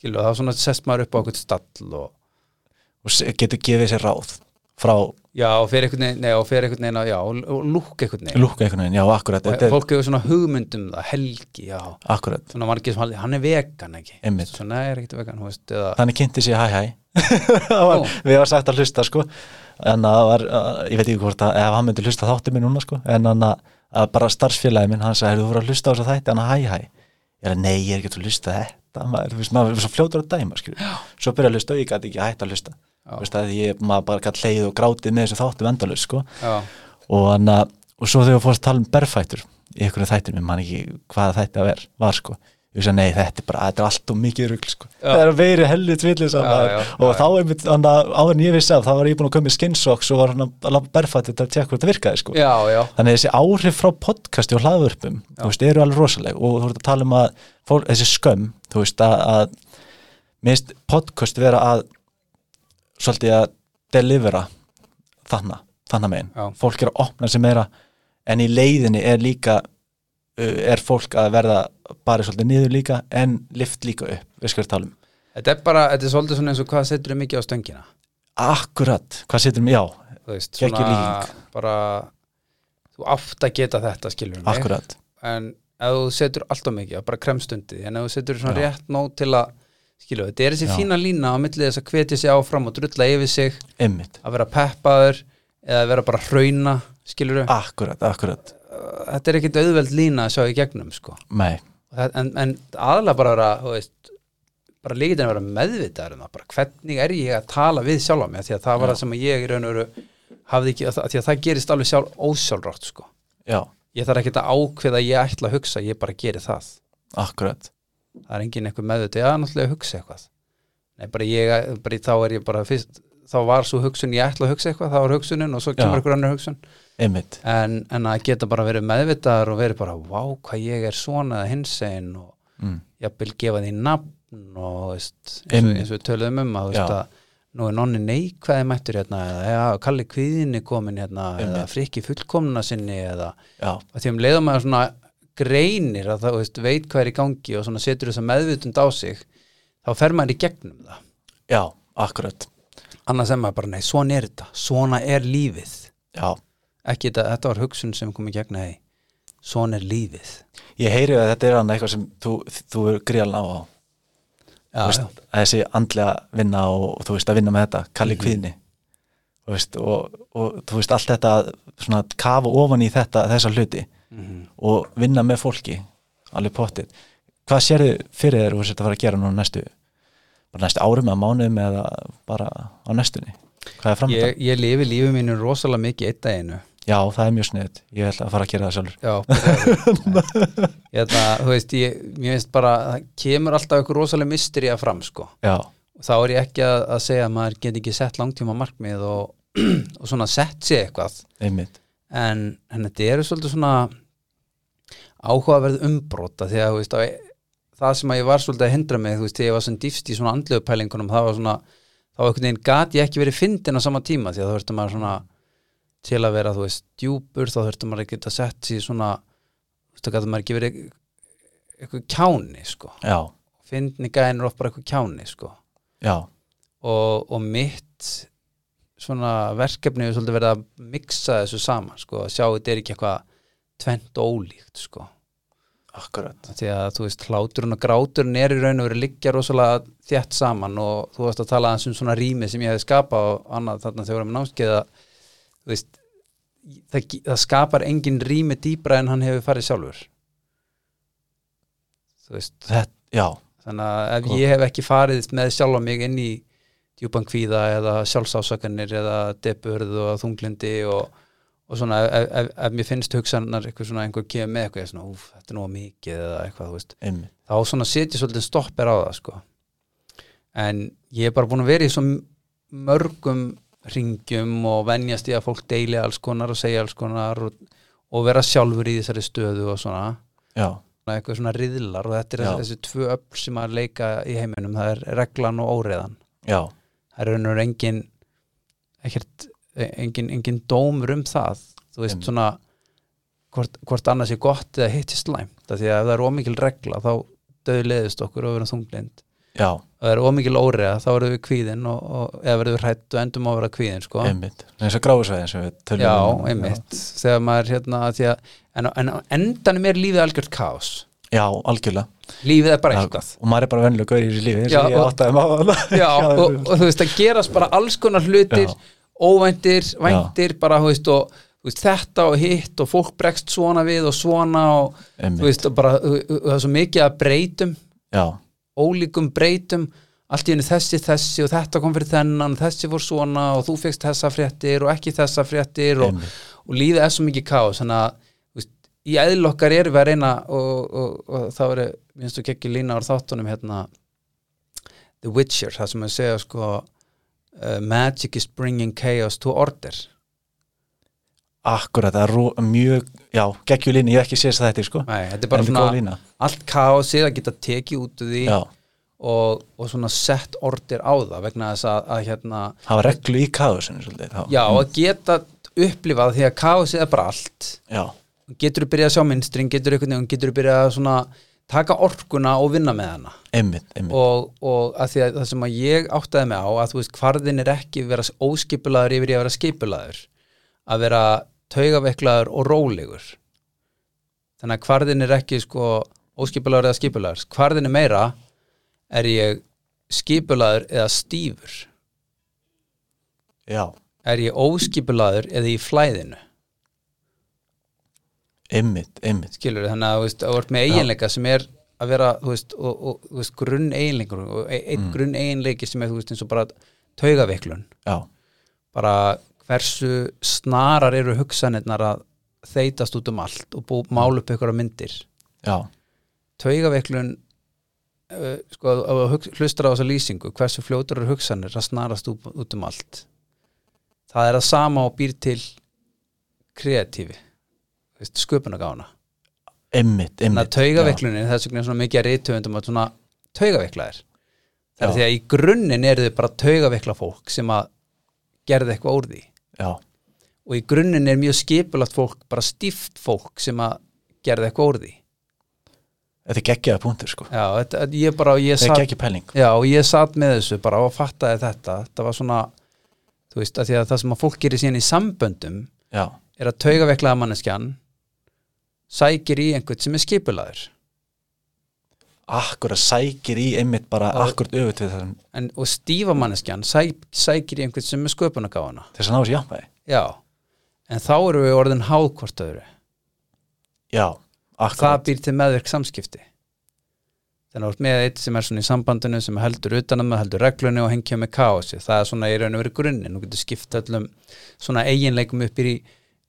skilur þá svona sest maður upp á einhvern stall og
og se- getur gefið sér ráð frá
já og fer einhvern veginn, nei og fer einhvern veginn að- já og, og lúk einhvern veginn
lúka einhvern veginn, já, akkurat
og
þetta er,
fólk hefur svona hugmyndum það, helgi, já
akkurat,
svona margir sem haldi, hann er vegan ekki
Einmitt.
svona er ekkert vegan, þú veist eða,
þannig kynnti sér hæ hæ Það var,
Ó.
við varum sagt að hlusta sko en það var, uh, ég veit ekki hvort að ef hann myndi hlusta þátti minn núna sko en hann að, að bara starfsfélagi minn, hann sagði "Heyrðu, þú voru að hlusta á þess að þætti, hann að hæ hæ ég er að nei, ég er ekki að hlusta á þetta maður, þú veist, maður er svo fljótur að dæma skilur. svo byrja að hlusta og ég gæti ekki hætt að hlusta Þú veist, að ég, maður bara gæti leið og grátið með þessu þáttu vendalus sko
já,
og, anna, og svo þegar við fórst að tala um berfættur í einhverju þættinum, mann ekki hvað þetta ver, var sko ég veist að nei, þetta er bara, þetta er allt og mikið rugl sko.
Já.
það er veiri hellu tvillis
Já, já,
og
já,
þá er mitt, anna, áður en ég vissi af þá var ég búin að koma með skinnsocks og var hann að labba berfættur til að tjekka hvort það virkaði sko
já, já,
þannig að þessi áhrif frá podcasti og hlaðvörpum þú veist, eru alveg rosaleg og þú veist að tala um að fólk, þessi skömm, þú veist að, að minnst podcast vera að svolítið að delivera þarna, þarna megin
Já.
fólk er að opna sig meira en í leiðinni er líka uh, er fólk að verða bara svolítið niður líka en lift líka upp við skur að tala um,
þetta er bara, þetta er svolítið svona eins og hvað setur þau mikið á stöngina
akkurat hvað setur mig, já,
þú veist,
Gekkjuð
svona
líking.
bara þú átt að geta þetta skilur mig
akkurat
en ef þú setur alltaf mikið, bara kremstundi en ef þú setur svona
Já.
rétt nóg til að skilur, þetta er þessi
Já.
fína lína á milli þess að hvetja sig áfram og drulla yfir sig
einmitt,
að vera peppaður eða að vera bara hrauna skilur,
akkurat, akkurat
þetta er ekkit auðveld lína að sjá í gegnum sko.
nei,
Og það- en, en aðalega bara að vera, þú veist, bara líkitin að vera meðvitaður um það, bara hvernig er ég að tala við sjálfa mig, af því að það var það sem að ég í raun og veru hafði ekki, af því að það gerist alveg sjálf ósjálfrátt sko
já,
ég þarf ekkert að ákveða að ég ætla að hugsa ég bara geri það,
akkurat
það er engin eitthvað meðviti að náttúrulega hugsa eitthvað Nei, bara ég, bara, þá er ég bara fyrst, þá var svo hugsun ég ætla að hugsa eitthvað það var hugsunin og svo
Já.
kemur ykkur annar hugsun
einmitt,
en, en að geta bara verið meðvitaðar og verið bara, vá, hvað ég er svona eða hinsegin og
mm.
jafnvel gefa því nafn og þú veist, eins, og,
Einmitt.
eins og við töluðum um að, þú
Já.
veist, að nú er nonni neikvæði mættur hérna eða ja, kalli kvíðinni komin hérna eða
Einmitt.
frikki fullkomna sinni eða
já,
að því um leiðum maður svona greinir að það þú veist, veit hvað er í gangi og svona setur þess að meðvutund á sig þá fer maður í gegnum það
Já, akkurat
annars er maður bara nei, svona er þetta, svona er lífið
Já,
ekki þetta, þetta var hugsun sem kom í gegn nei, svona er lífið
ég heyri að þetta er hann eitthvað sem þú, þú er gríðan á á
já, Mhm.
Þú veist, að þessi andlega vinna og, og þú veist að vinna með þetta, kalli mm kvíðni Þú veist, og, og þú veist allt þetta svona að kafa ofan í þetta þessa hluti
Mhm.
og vinna með fólki alveg pottir hvað sérðu fyrir þér og þetta að fara að gera núna næstu bara næstu árum eða mánuðum eða bara á næstunni hvað er framöndan?
ég, ég lifi lífið mínu rosalega mikið eitt daginu
Já, það er mjög sniðut, ég ætla að fara að gera það sjálfur
já, byrjaðu. hérna, þú veist, ég, mér veist bara það kemur alltaf ykkur rosalega mystery að fram sko
Já,
og þá er ég ekki að, að segja að maður get ekki sett langtíma markmið og, og svona sett sér eitthvað
einmitt,
en, en þetta eru svolítið svona áhugaverð umbrota því að þú veist, á, e- það sem að ég var svolítið að hindra mig, þú veist, þegar ég var svona dýfst í svona andlegu pælingunum, það var svona þá einhvern veginn gat ég ekki verið fyndin á sama tíma því að það verður maður svona til að vera, þú veist, djúpur, þá þurfti maður ekki að setja sér svona, þú veist, þá gæti maður ekki verið eitthvað kjáni sko
já,
fyndni gæðin er oft bara eitthvað kjáni sko
já,
og, og mitt svona verkefni er svolítið verið að mixa þessu saman sko að sjá að þetta er ekki eitthvað tvent ólíkt sko
akkurat
Af því að þú veist hláturinn og gráturinn er í raun og verið liggja rosalega þétt saman og þú varst að tala aðeins um svona rými sem ég hefði skapað og annað þarna þegar við vorum námskeiða þú veist það, ge- það skapar engin rými dýpra en hann hefur farið sjálfur þú veist
Þetta, já,
þannig að ef
Sko.
ég hef ekki farið með sjálfa mig inn í djúpan kvíða eða sjálfsásakanir eða depurð og þunglindi og, og svona ef, ef, ef mér finnst hugsanar eitthvað svona einhver kemur með eitthvað ég er svona, úf, þetta er nú of mikið eða eitthvað, þú veist
einmitt
þá svona setja svolítið stoppir á það sko. en ég er bara búin að vera í svo mörgum ringjum og venjast í að fólk deili alls konar og segja alls konar og, og vera sjálfur í þessari stöðu og svona
já,
svona eitthvað svona riðlar og þetta er
Já.
þessi tvö öll sem að leika í heiminum það er reglan og óreðan
já,
það er raunur engin ekkert, e, engin, engin dómur um það þú veist
Einmitt.
svona hvort, hvort annars er gott eða hitt er slæmt af því að ef það er ómikil regla þá döðleðist okkur og verðum þunglind
já,
og það er ómikil óreða þá verðum við kvíðin og, og, eða verðum við hrætt og endum á að vera kvíðin sko.
einmitt eins og gráðsvæðin sem við tölum
já,
um.
einmitt þegar maður hérna af því að, en, en á endanum er lífið algjört kaos
já, algjörlega
lífið er bara
Já,
eitthvað
og maður er bara venjulega gaur í þessu lífi eins og
Já,
ég
og-
áttaði maður
Já, og, og þú veist, það gerast bara alls konar hlutir,
Já.
óvæntir, væntir, bara, þú veist, og þú veist, þetta og hitt og fólk bregst svona við og svona og
Einmitt.
þú veist, og bara, þú- þú- það er svo mikið að breytum,
já,
ólíkum breytum, allt í henni þessi, þessi og þetta kom fyrir þennan, þessi fór svona og þú fegst þessa fréttir og ekki þessa fréttir og,
Einmitt.
og lífið er svo mikið kaos, þannig að, þú veist, í eðl okkar erum við að reyna og, og, og, og það verið, minnst þú kekki lína á þáttunum hérna, The Witcher, það sem að segja sko uh, Magic is bringing chaos to order
akkurat, það er rú, mjög já, geggjulín, ég hef ekki séð þess að þetta sko
Nei, þetta er bara
En góð
svona
lína.
allt chaosið að geta tekið út úr því
já,
og, og svona sett order á það vegna þess að, að hérna
hafa reglu í kaðusinu svolítið þá.
já, að geta upplifað því að chaosið er bara allt
já,
getur þú byrjað að sjá minnstring, getur þú einhvern veginn getur þú byrjað að svona taka orkuna og vinna með hana
einmitt, einmitt
og, og að því að það sem að ég áttaði mig á að þú veist hvarðin er ekki vera óskipulaður yfir í að vera skipulaður að vera taugaveiklaður og rólegur þannig að hvarðin er ekki sko óskipulaður eða skipulaður hvarðin er meira er ég skipulaður eða stífur
já,
er ég óskipulaður eða í flæðinu
einmitt, einmitt
skilur þannig að þú veist, að þú ert með eiginleika sem er að vera, þú veist, og, og, þú veist grunn eiginleikur og e- einn grunn eiginleiki sem er, þú veist, eins og bara taugaveiklun
já,
bara hversu snarar eru hugsanirnar að þeitast út um allt og bú, mála upp ykkur á myndir
já,
taugaveiklun uh, sko, ef þú hugsa- hlustar á þessa lýsingu hversu fljótur eru hugsanir að snarast út, út um allt það er að sama og býr til kreatífi þú veist, sköpunagána
einmitt,
þannig að
einmitt
taugaveiklunin, þess vegna er svona mikið að reytöfundum að svona taugaveiklaðir það
Já.
er því að í grunninn eru þau bara taugaveikla fólk sem að gerði eitthvað úr því
já, já,
og í grunninn er mjög skipulagt fólk bara stíft fólk sem að gerði eitthvað úr því
þetta er geggjaða punktur sko
já, þetta, ég bara, ég
þetta er
satt
geggja pæling
já, og ég satt með þessu bara og fattaði þetta þetta var svona, þú veist, að því að það sem að fólk gerir síðan í samböndum
já,
er að taugaveiklaða manneskjan sækir í einhvern sem er skipulaður
akkurat sækir í einmitt bara
Já.
akkurat öfut við þessum
en, og stífa manneskjan sæk, sækir í einhvern sem er sköpunagáfana
til þess að ná þessi jafnvægi
já, en þá eru við orðin háð hvort öðru,
já,
það
akkurat,
býr til meðverk samskipti þannig að þú ert með eitt sem er svona í sambandinu sem heldur utanum, heldur reglunni og hengja með kaosi það er svona í raun og verið grunnin þú getur skipt öllum svona eiginleikum upp í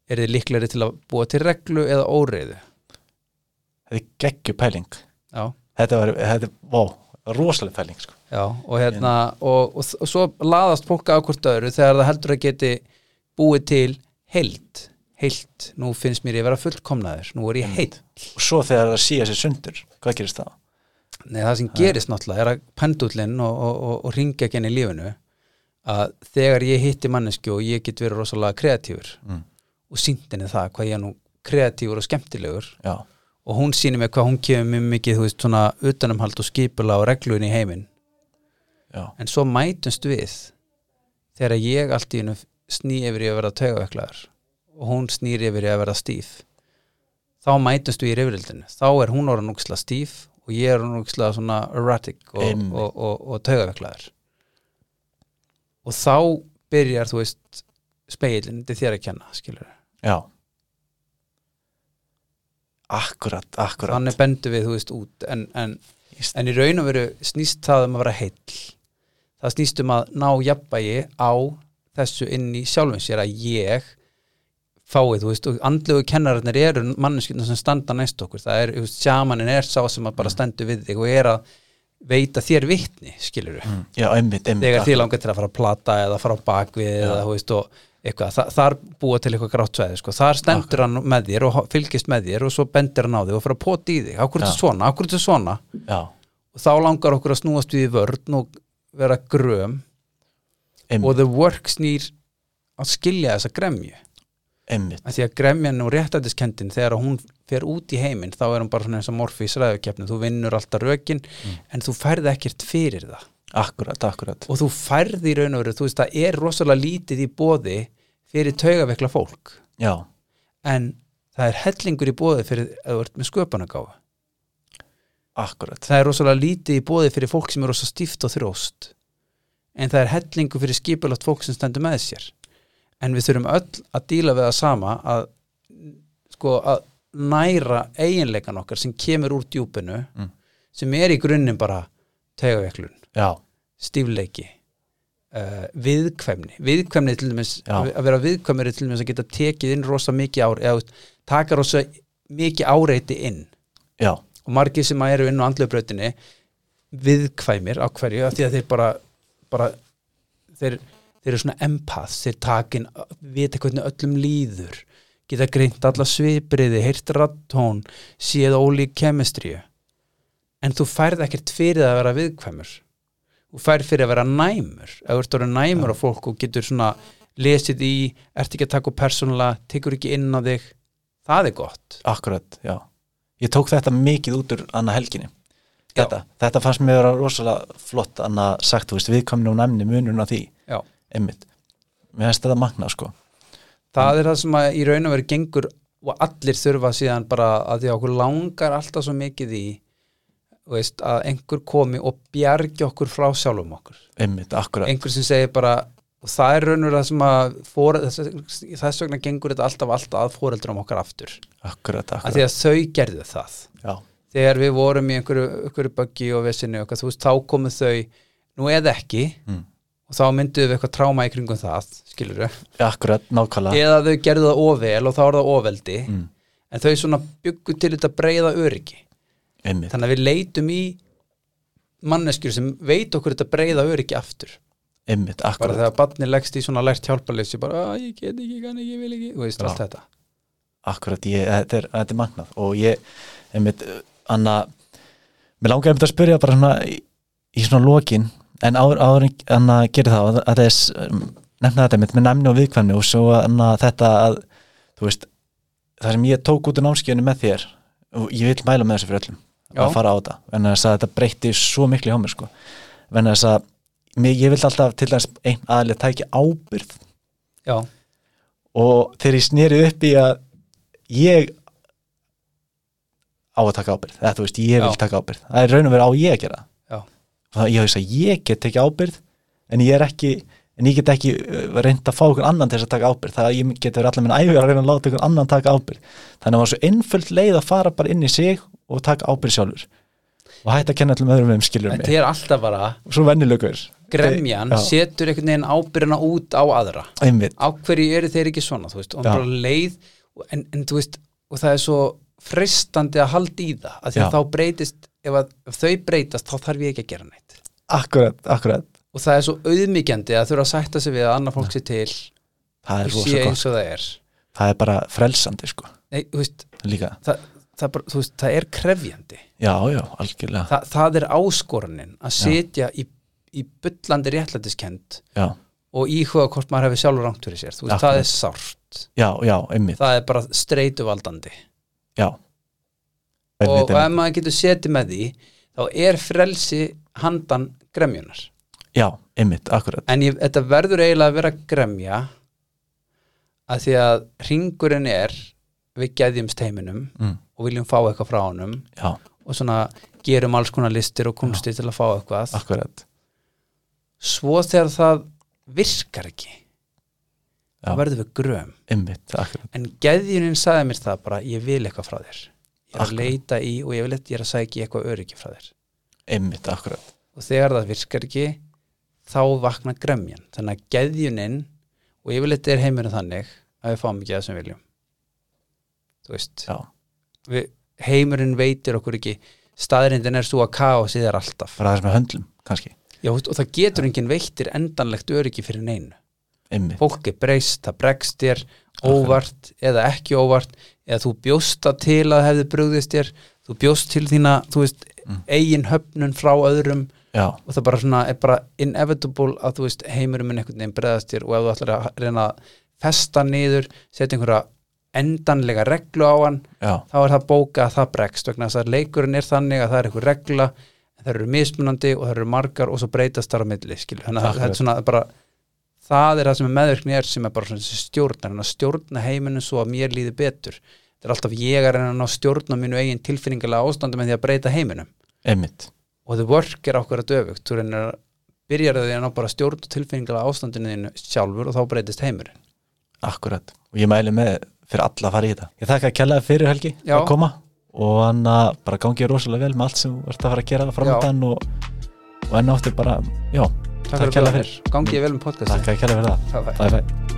er þið líklegri til að búa til reglu eða óreiðu
þetta er geggju pæling
já,
þetta var, þetta er, vó rosaleg pæling sko,
já, og hérna og, og, og svo laðast fólk að hvort öðru þegar það heldur að geti búið til heilt, heilt nú finnst mér ég vera fullkomnaður, nú er ég heitt
og svo þegar það síja sér sundur hvað gerist það?
Nei, það sem gerist náttúrulega er að pendullin og, og, og, og ringja genn í lífinu að þegar ég hitti mannesku og ég get verið rosalega kreatífur
Mm.
og síndinni það hvað ég er nú kreatífur og skemmtilegur
já,
og hún sýnir mér hvað hún kemur mjög mikið þú veist, svona utanumhald og skipula og reglun í heiminn
já,
en svo mætumst við þegar ég allt í hennu sný yfir í að vera taugaveklaður og hún snýr yfir í að vera stíf þá mætumst við í rifrildinu þá er hún orðan úksla stíf og ég er orðan úksla svona erratic og, og,
Einmitt.
og, og, og taugaveklaður og þá byrjar þú veist speilin, þetta er þér að kenna skilur
já akkurat, akkurat
þannig bendum við, þú veist, út en, en,
Íst-
en í raun og veru snýst það um að vera heill það snýst um að ná jafnbægi á þessu inn í sjálfum sér að ég fáið, þú veist, og andlegu kennararnir eru manneskjörnum sem standa næst okkur það er, þú veist, sjamanin er sá sem að bara stendur við þig og er að veita þér vitni, skilur
Mm, já, einmitt, einmitt
þegar
akkurat.
þið langar til að fara að plata eða fara á bakvið eða, þú veist, og eitthvað, Þa, þar búa til eitthvað grátt svæði, sko, þar stendur hann með þér og ho- fylgist með þér og svo bendir hann á þig og fara að poti í þig, akkur er þetta svona, akkur er þetta svona
já,
og þá langar okkur að snúast við í vörn og vera gröm
einmitt,
og the work snýr að skilja þessa gremju
einmitt
að því að gremjan og réttætiskendin þegar hún fer út í heiminn þá er hún bara svona eins og morfi í sræðukeppni þú vinnur alltaf rökin en þú færð ekkert fyrir það
akkurat, akkurat
og þú færði í raun og veru, þú veist, það er rosalega lítið í bóði fyrir taugavekla fólk
já,
en það er hellingur í bóði fyrir að þú ert með sköpunagáfa
akkurat
það er rosalega lítið í bóði fyrir fólk sem er rosalega stíft og þróst en það er hellingur fyrir skipulagt fólk sem stendur með sér en við þurfum öll að díla við það sama að sko að næra eiginleikan okkar sem kemur úr djúpinu
Mm.
sem er í grunnum bara taugaveklun
já,
stífleiki uh, viðkvæmni viðkvæmni til dæmis,
Já.
að vera viðkvæmur er til dæmis að geta tekið inn rosa mikið ár eða þú veist, taka rosa mikið áreiti inn
já,
og margir sem eru inn á andlöfbrautinni viðkvæmir á hverju af því að þeir bara, bara þeir, þeir eru svona empaths þeir takin, vita hvernig öllum líður geta greint alla svipriði heyrt rattón, séð ólík kemistríu en þú færð ekkert fyrir að vera viðkvæmur þú færð fyrir að vera næmur ef þú ert orðin næmur á fólk og getur svona lesið í, ert ekki að taka persónulega, tekur ekki inn á þig það er gott
akkurat, já ég tók þetta mikið út úr annað helginni
Já.
þetta, þetta fannst mér vera rosalega flott annað sagt, þú veist, viðkomni og næmni munurinn á því,
Já.
einmitt mér finnst þetta magna, sko
það er það sem að í raun og veru gengur og allir þurfa síðan bara að því að okkur langar alltaf svo mikið í þú veist, að einhver komi og bjargi okkur frá sjálfum okkur
einmitt, akkurat,
einhver sem segir bara og það er raun og veru það sem að fóre, þess, þess vegna gengur þetta alltaf alltaf að foreldrum okkar aftur
akkurat,
af
akkurat
því að þau gerðu það
já,
þegar við vorum í einhverju, einhverju böggi og vesinni og eitthvað, þú veist, þá komu þau nú eða ekki
mm.
og þá mynduðu við eitthvað tráma í kringum það skilur
akkurat, nákvæmlega
eða þau gerðu það óvel og þá er það óveldi
mm.
en þau svona byggu til þetta breyða öryggi
einmitt,
þannig að við leitum í manneskjur sem veit okkur þetta breyða öryggi aftur
einmitt,
bara
akkurat
þegar barni leggst í svona lært hjálparleysi bara "Ah, ég get ekki, ég kann ekki, ég vil ekki og veist
Já.
allt þetta
akkurat, ég, eh, þetta er, þetta er magnað og ég, einmitt, eh, Anna mér langar einmitt að spyrja bara svona í, í svona lokin en áður, áður en Anna gerir það að, að þess, um, nefna þetta einmitt með næmni og viðkvæmni og svo Anna þetta að þú veist, það sem ég tók út úr námskeiðinu með þér og ég vil mæla með þessu fyrir öllum
Já.
að fara á þetta, en þess að þetta breytti svo miklu hjá mér sko, en þess að mér, ég vil alltaf til þess einn aðlega tæki ábyrð
já,
og þegar ég sneri upp í að ég á að taka ábyrð eða þú veist, ég vil
Já.
taka ábyrð það er raun og verið á ég að gera
Já.
og það ég veist að ég get ekki ábyrð en ég er ekki en ég get ekki reynda að fá okkur annan til þess að taka ábyrð það að ég get verið allar minn æfi að reyna að láta okkur annan taka ábyrð þannig að það var svo einföld leið að fara bara inn í sig og taka ábyrð sjálfur og hætta að kenna allum öðrum um skilur
en
mig
þetta er alltaf bara
svo vennilegur
gremjan
Já.
setur einhvern veginn ábyrjana út á aðra
einmitt,
á hverju eru þeir ekki svona þú veist, og
Já.
bara leið en, en þú veist, og það er svo freistandi að halda í það, af því að
Já.
þá breytist ef, að, ef þau breytast, þá þarf ég ekki að gera neitt
akkurat, akkurat
og það er svo auðmyggjandi að þurfa að sætta sig við að annað fólk sé til
það er
og sé
rosa gott,
eins og það er
það er bara frelsandi sko,
Nei, þú veist,
líka
það, það, bara, þú veist, það er krefjandi
Já, já, algjörlega
Þa, það er áskorunin að setja í, í bullandi réttlætiskend
Já,
og íhuga hvort maður hefur sjálfur rangt fyrir sér Þú veist, það er sárt
já, já, einmitt
það er bara streituvaldandi
Já,
og, og
Helviti.
ef maður getur setið með því þá er frelsi handan gremjunar
Já, einmitt, akkurat
en ég, þetta verður eiginlega að vera gremja að því að hringurinn er við geðjumst heiminum
mm,
og viljum fá eitthvað frá honum
Já,
og svona gerum alls konar listir og kunsti til að fá eitthvað
akkurat
svo þegar það virkar ekki
Já.
þá verður við gröm
Einmitt, akkurat
en geðjunin sagði mér það bara ég vil eitthvað frá þér ég er að
Akkurat.
leita í og ég, vil, ég er að sækja í eitthvað öryggi frá þér
Einmitt, akkurat
og þegar það virkar ekki þá vaknar gremjan þannig að geðjunin og yfirleitt er heimurinn þannig að við fáum ekki það sem við viljum þú veist
Já,
við, heimurinn veitir okkur ekki staðrindin er svo að kaosið er alltaf
bara það sem við höndlum, kannski
Já, þú veist, og það getur enginn veittir endanlegt öryggi fyrir neinu
Einmitt,
fólk er breyst, það bregst þér óvart eða ekki óvart eða þú bjósta til að hefði brugðist þér þú bjóst til þína, þú veist
Mm.
eigin höfnun frá öðrum
já,
og það bara svona er bara inevitable að þú veist heimurum minn einhvern veginn breðast þér og ef þú ætlar að reyna að festa niður setja einhverja endanlega reglu á hann
já,
þá er það bóka að það bregst vegna þess að leikurinn er þannig að það er einhver regla en það eru mismunandi og það eru margar og svo breytast þar á milli skilur. þannig að
Akkurat.
þetta er svona bara það er það sem er meðverkni er sem er bara svona þessi stjórnar en að stjórna heiminu svo að mér líði betur þetta er alltaf ég að reyna að ná stjórna mínu eigin tilfinningilega ástandum en því að breyta heiminum
einmitt
og the work er okkur að döfugt þú reynir að byrjar að því að ná bara stjórn og tilfinningalega ástandinu þínu sjálfur og þá breytist heimurinn
Akkurat, og ég mæli með fyrir alla að fara í þetta Ég þakka að kjallaði fyrir Helgi
Já.
að koma og hann að bara gangi þér rosalega vel með allt sem þú ert að fara að gera framöndan og, og enn áttu bara, já, takk, takk
fyrir
kjallaði
komuna.
fyrir
gangi ég vel með podcastin
Takk að kjallaði fyrir það,
Takk.
bye bye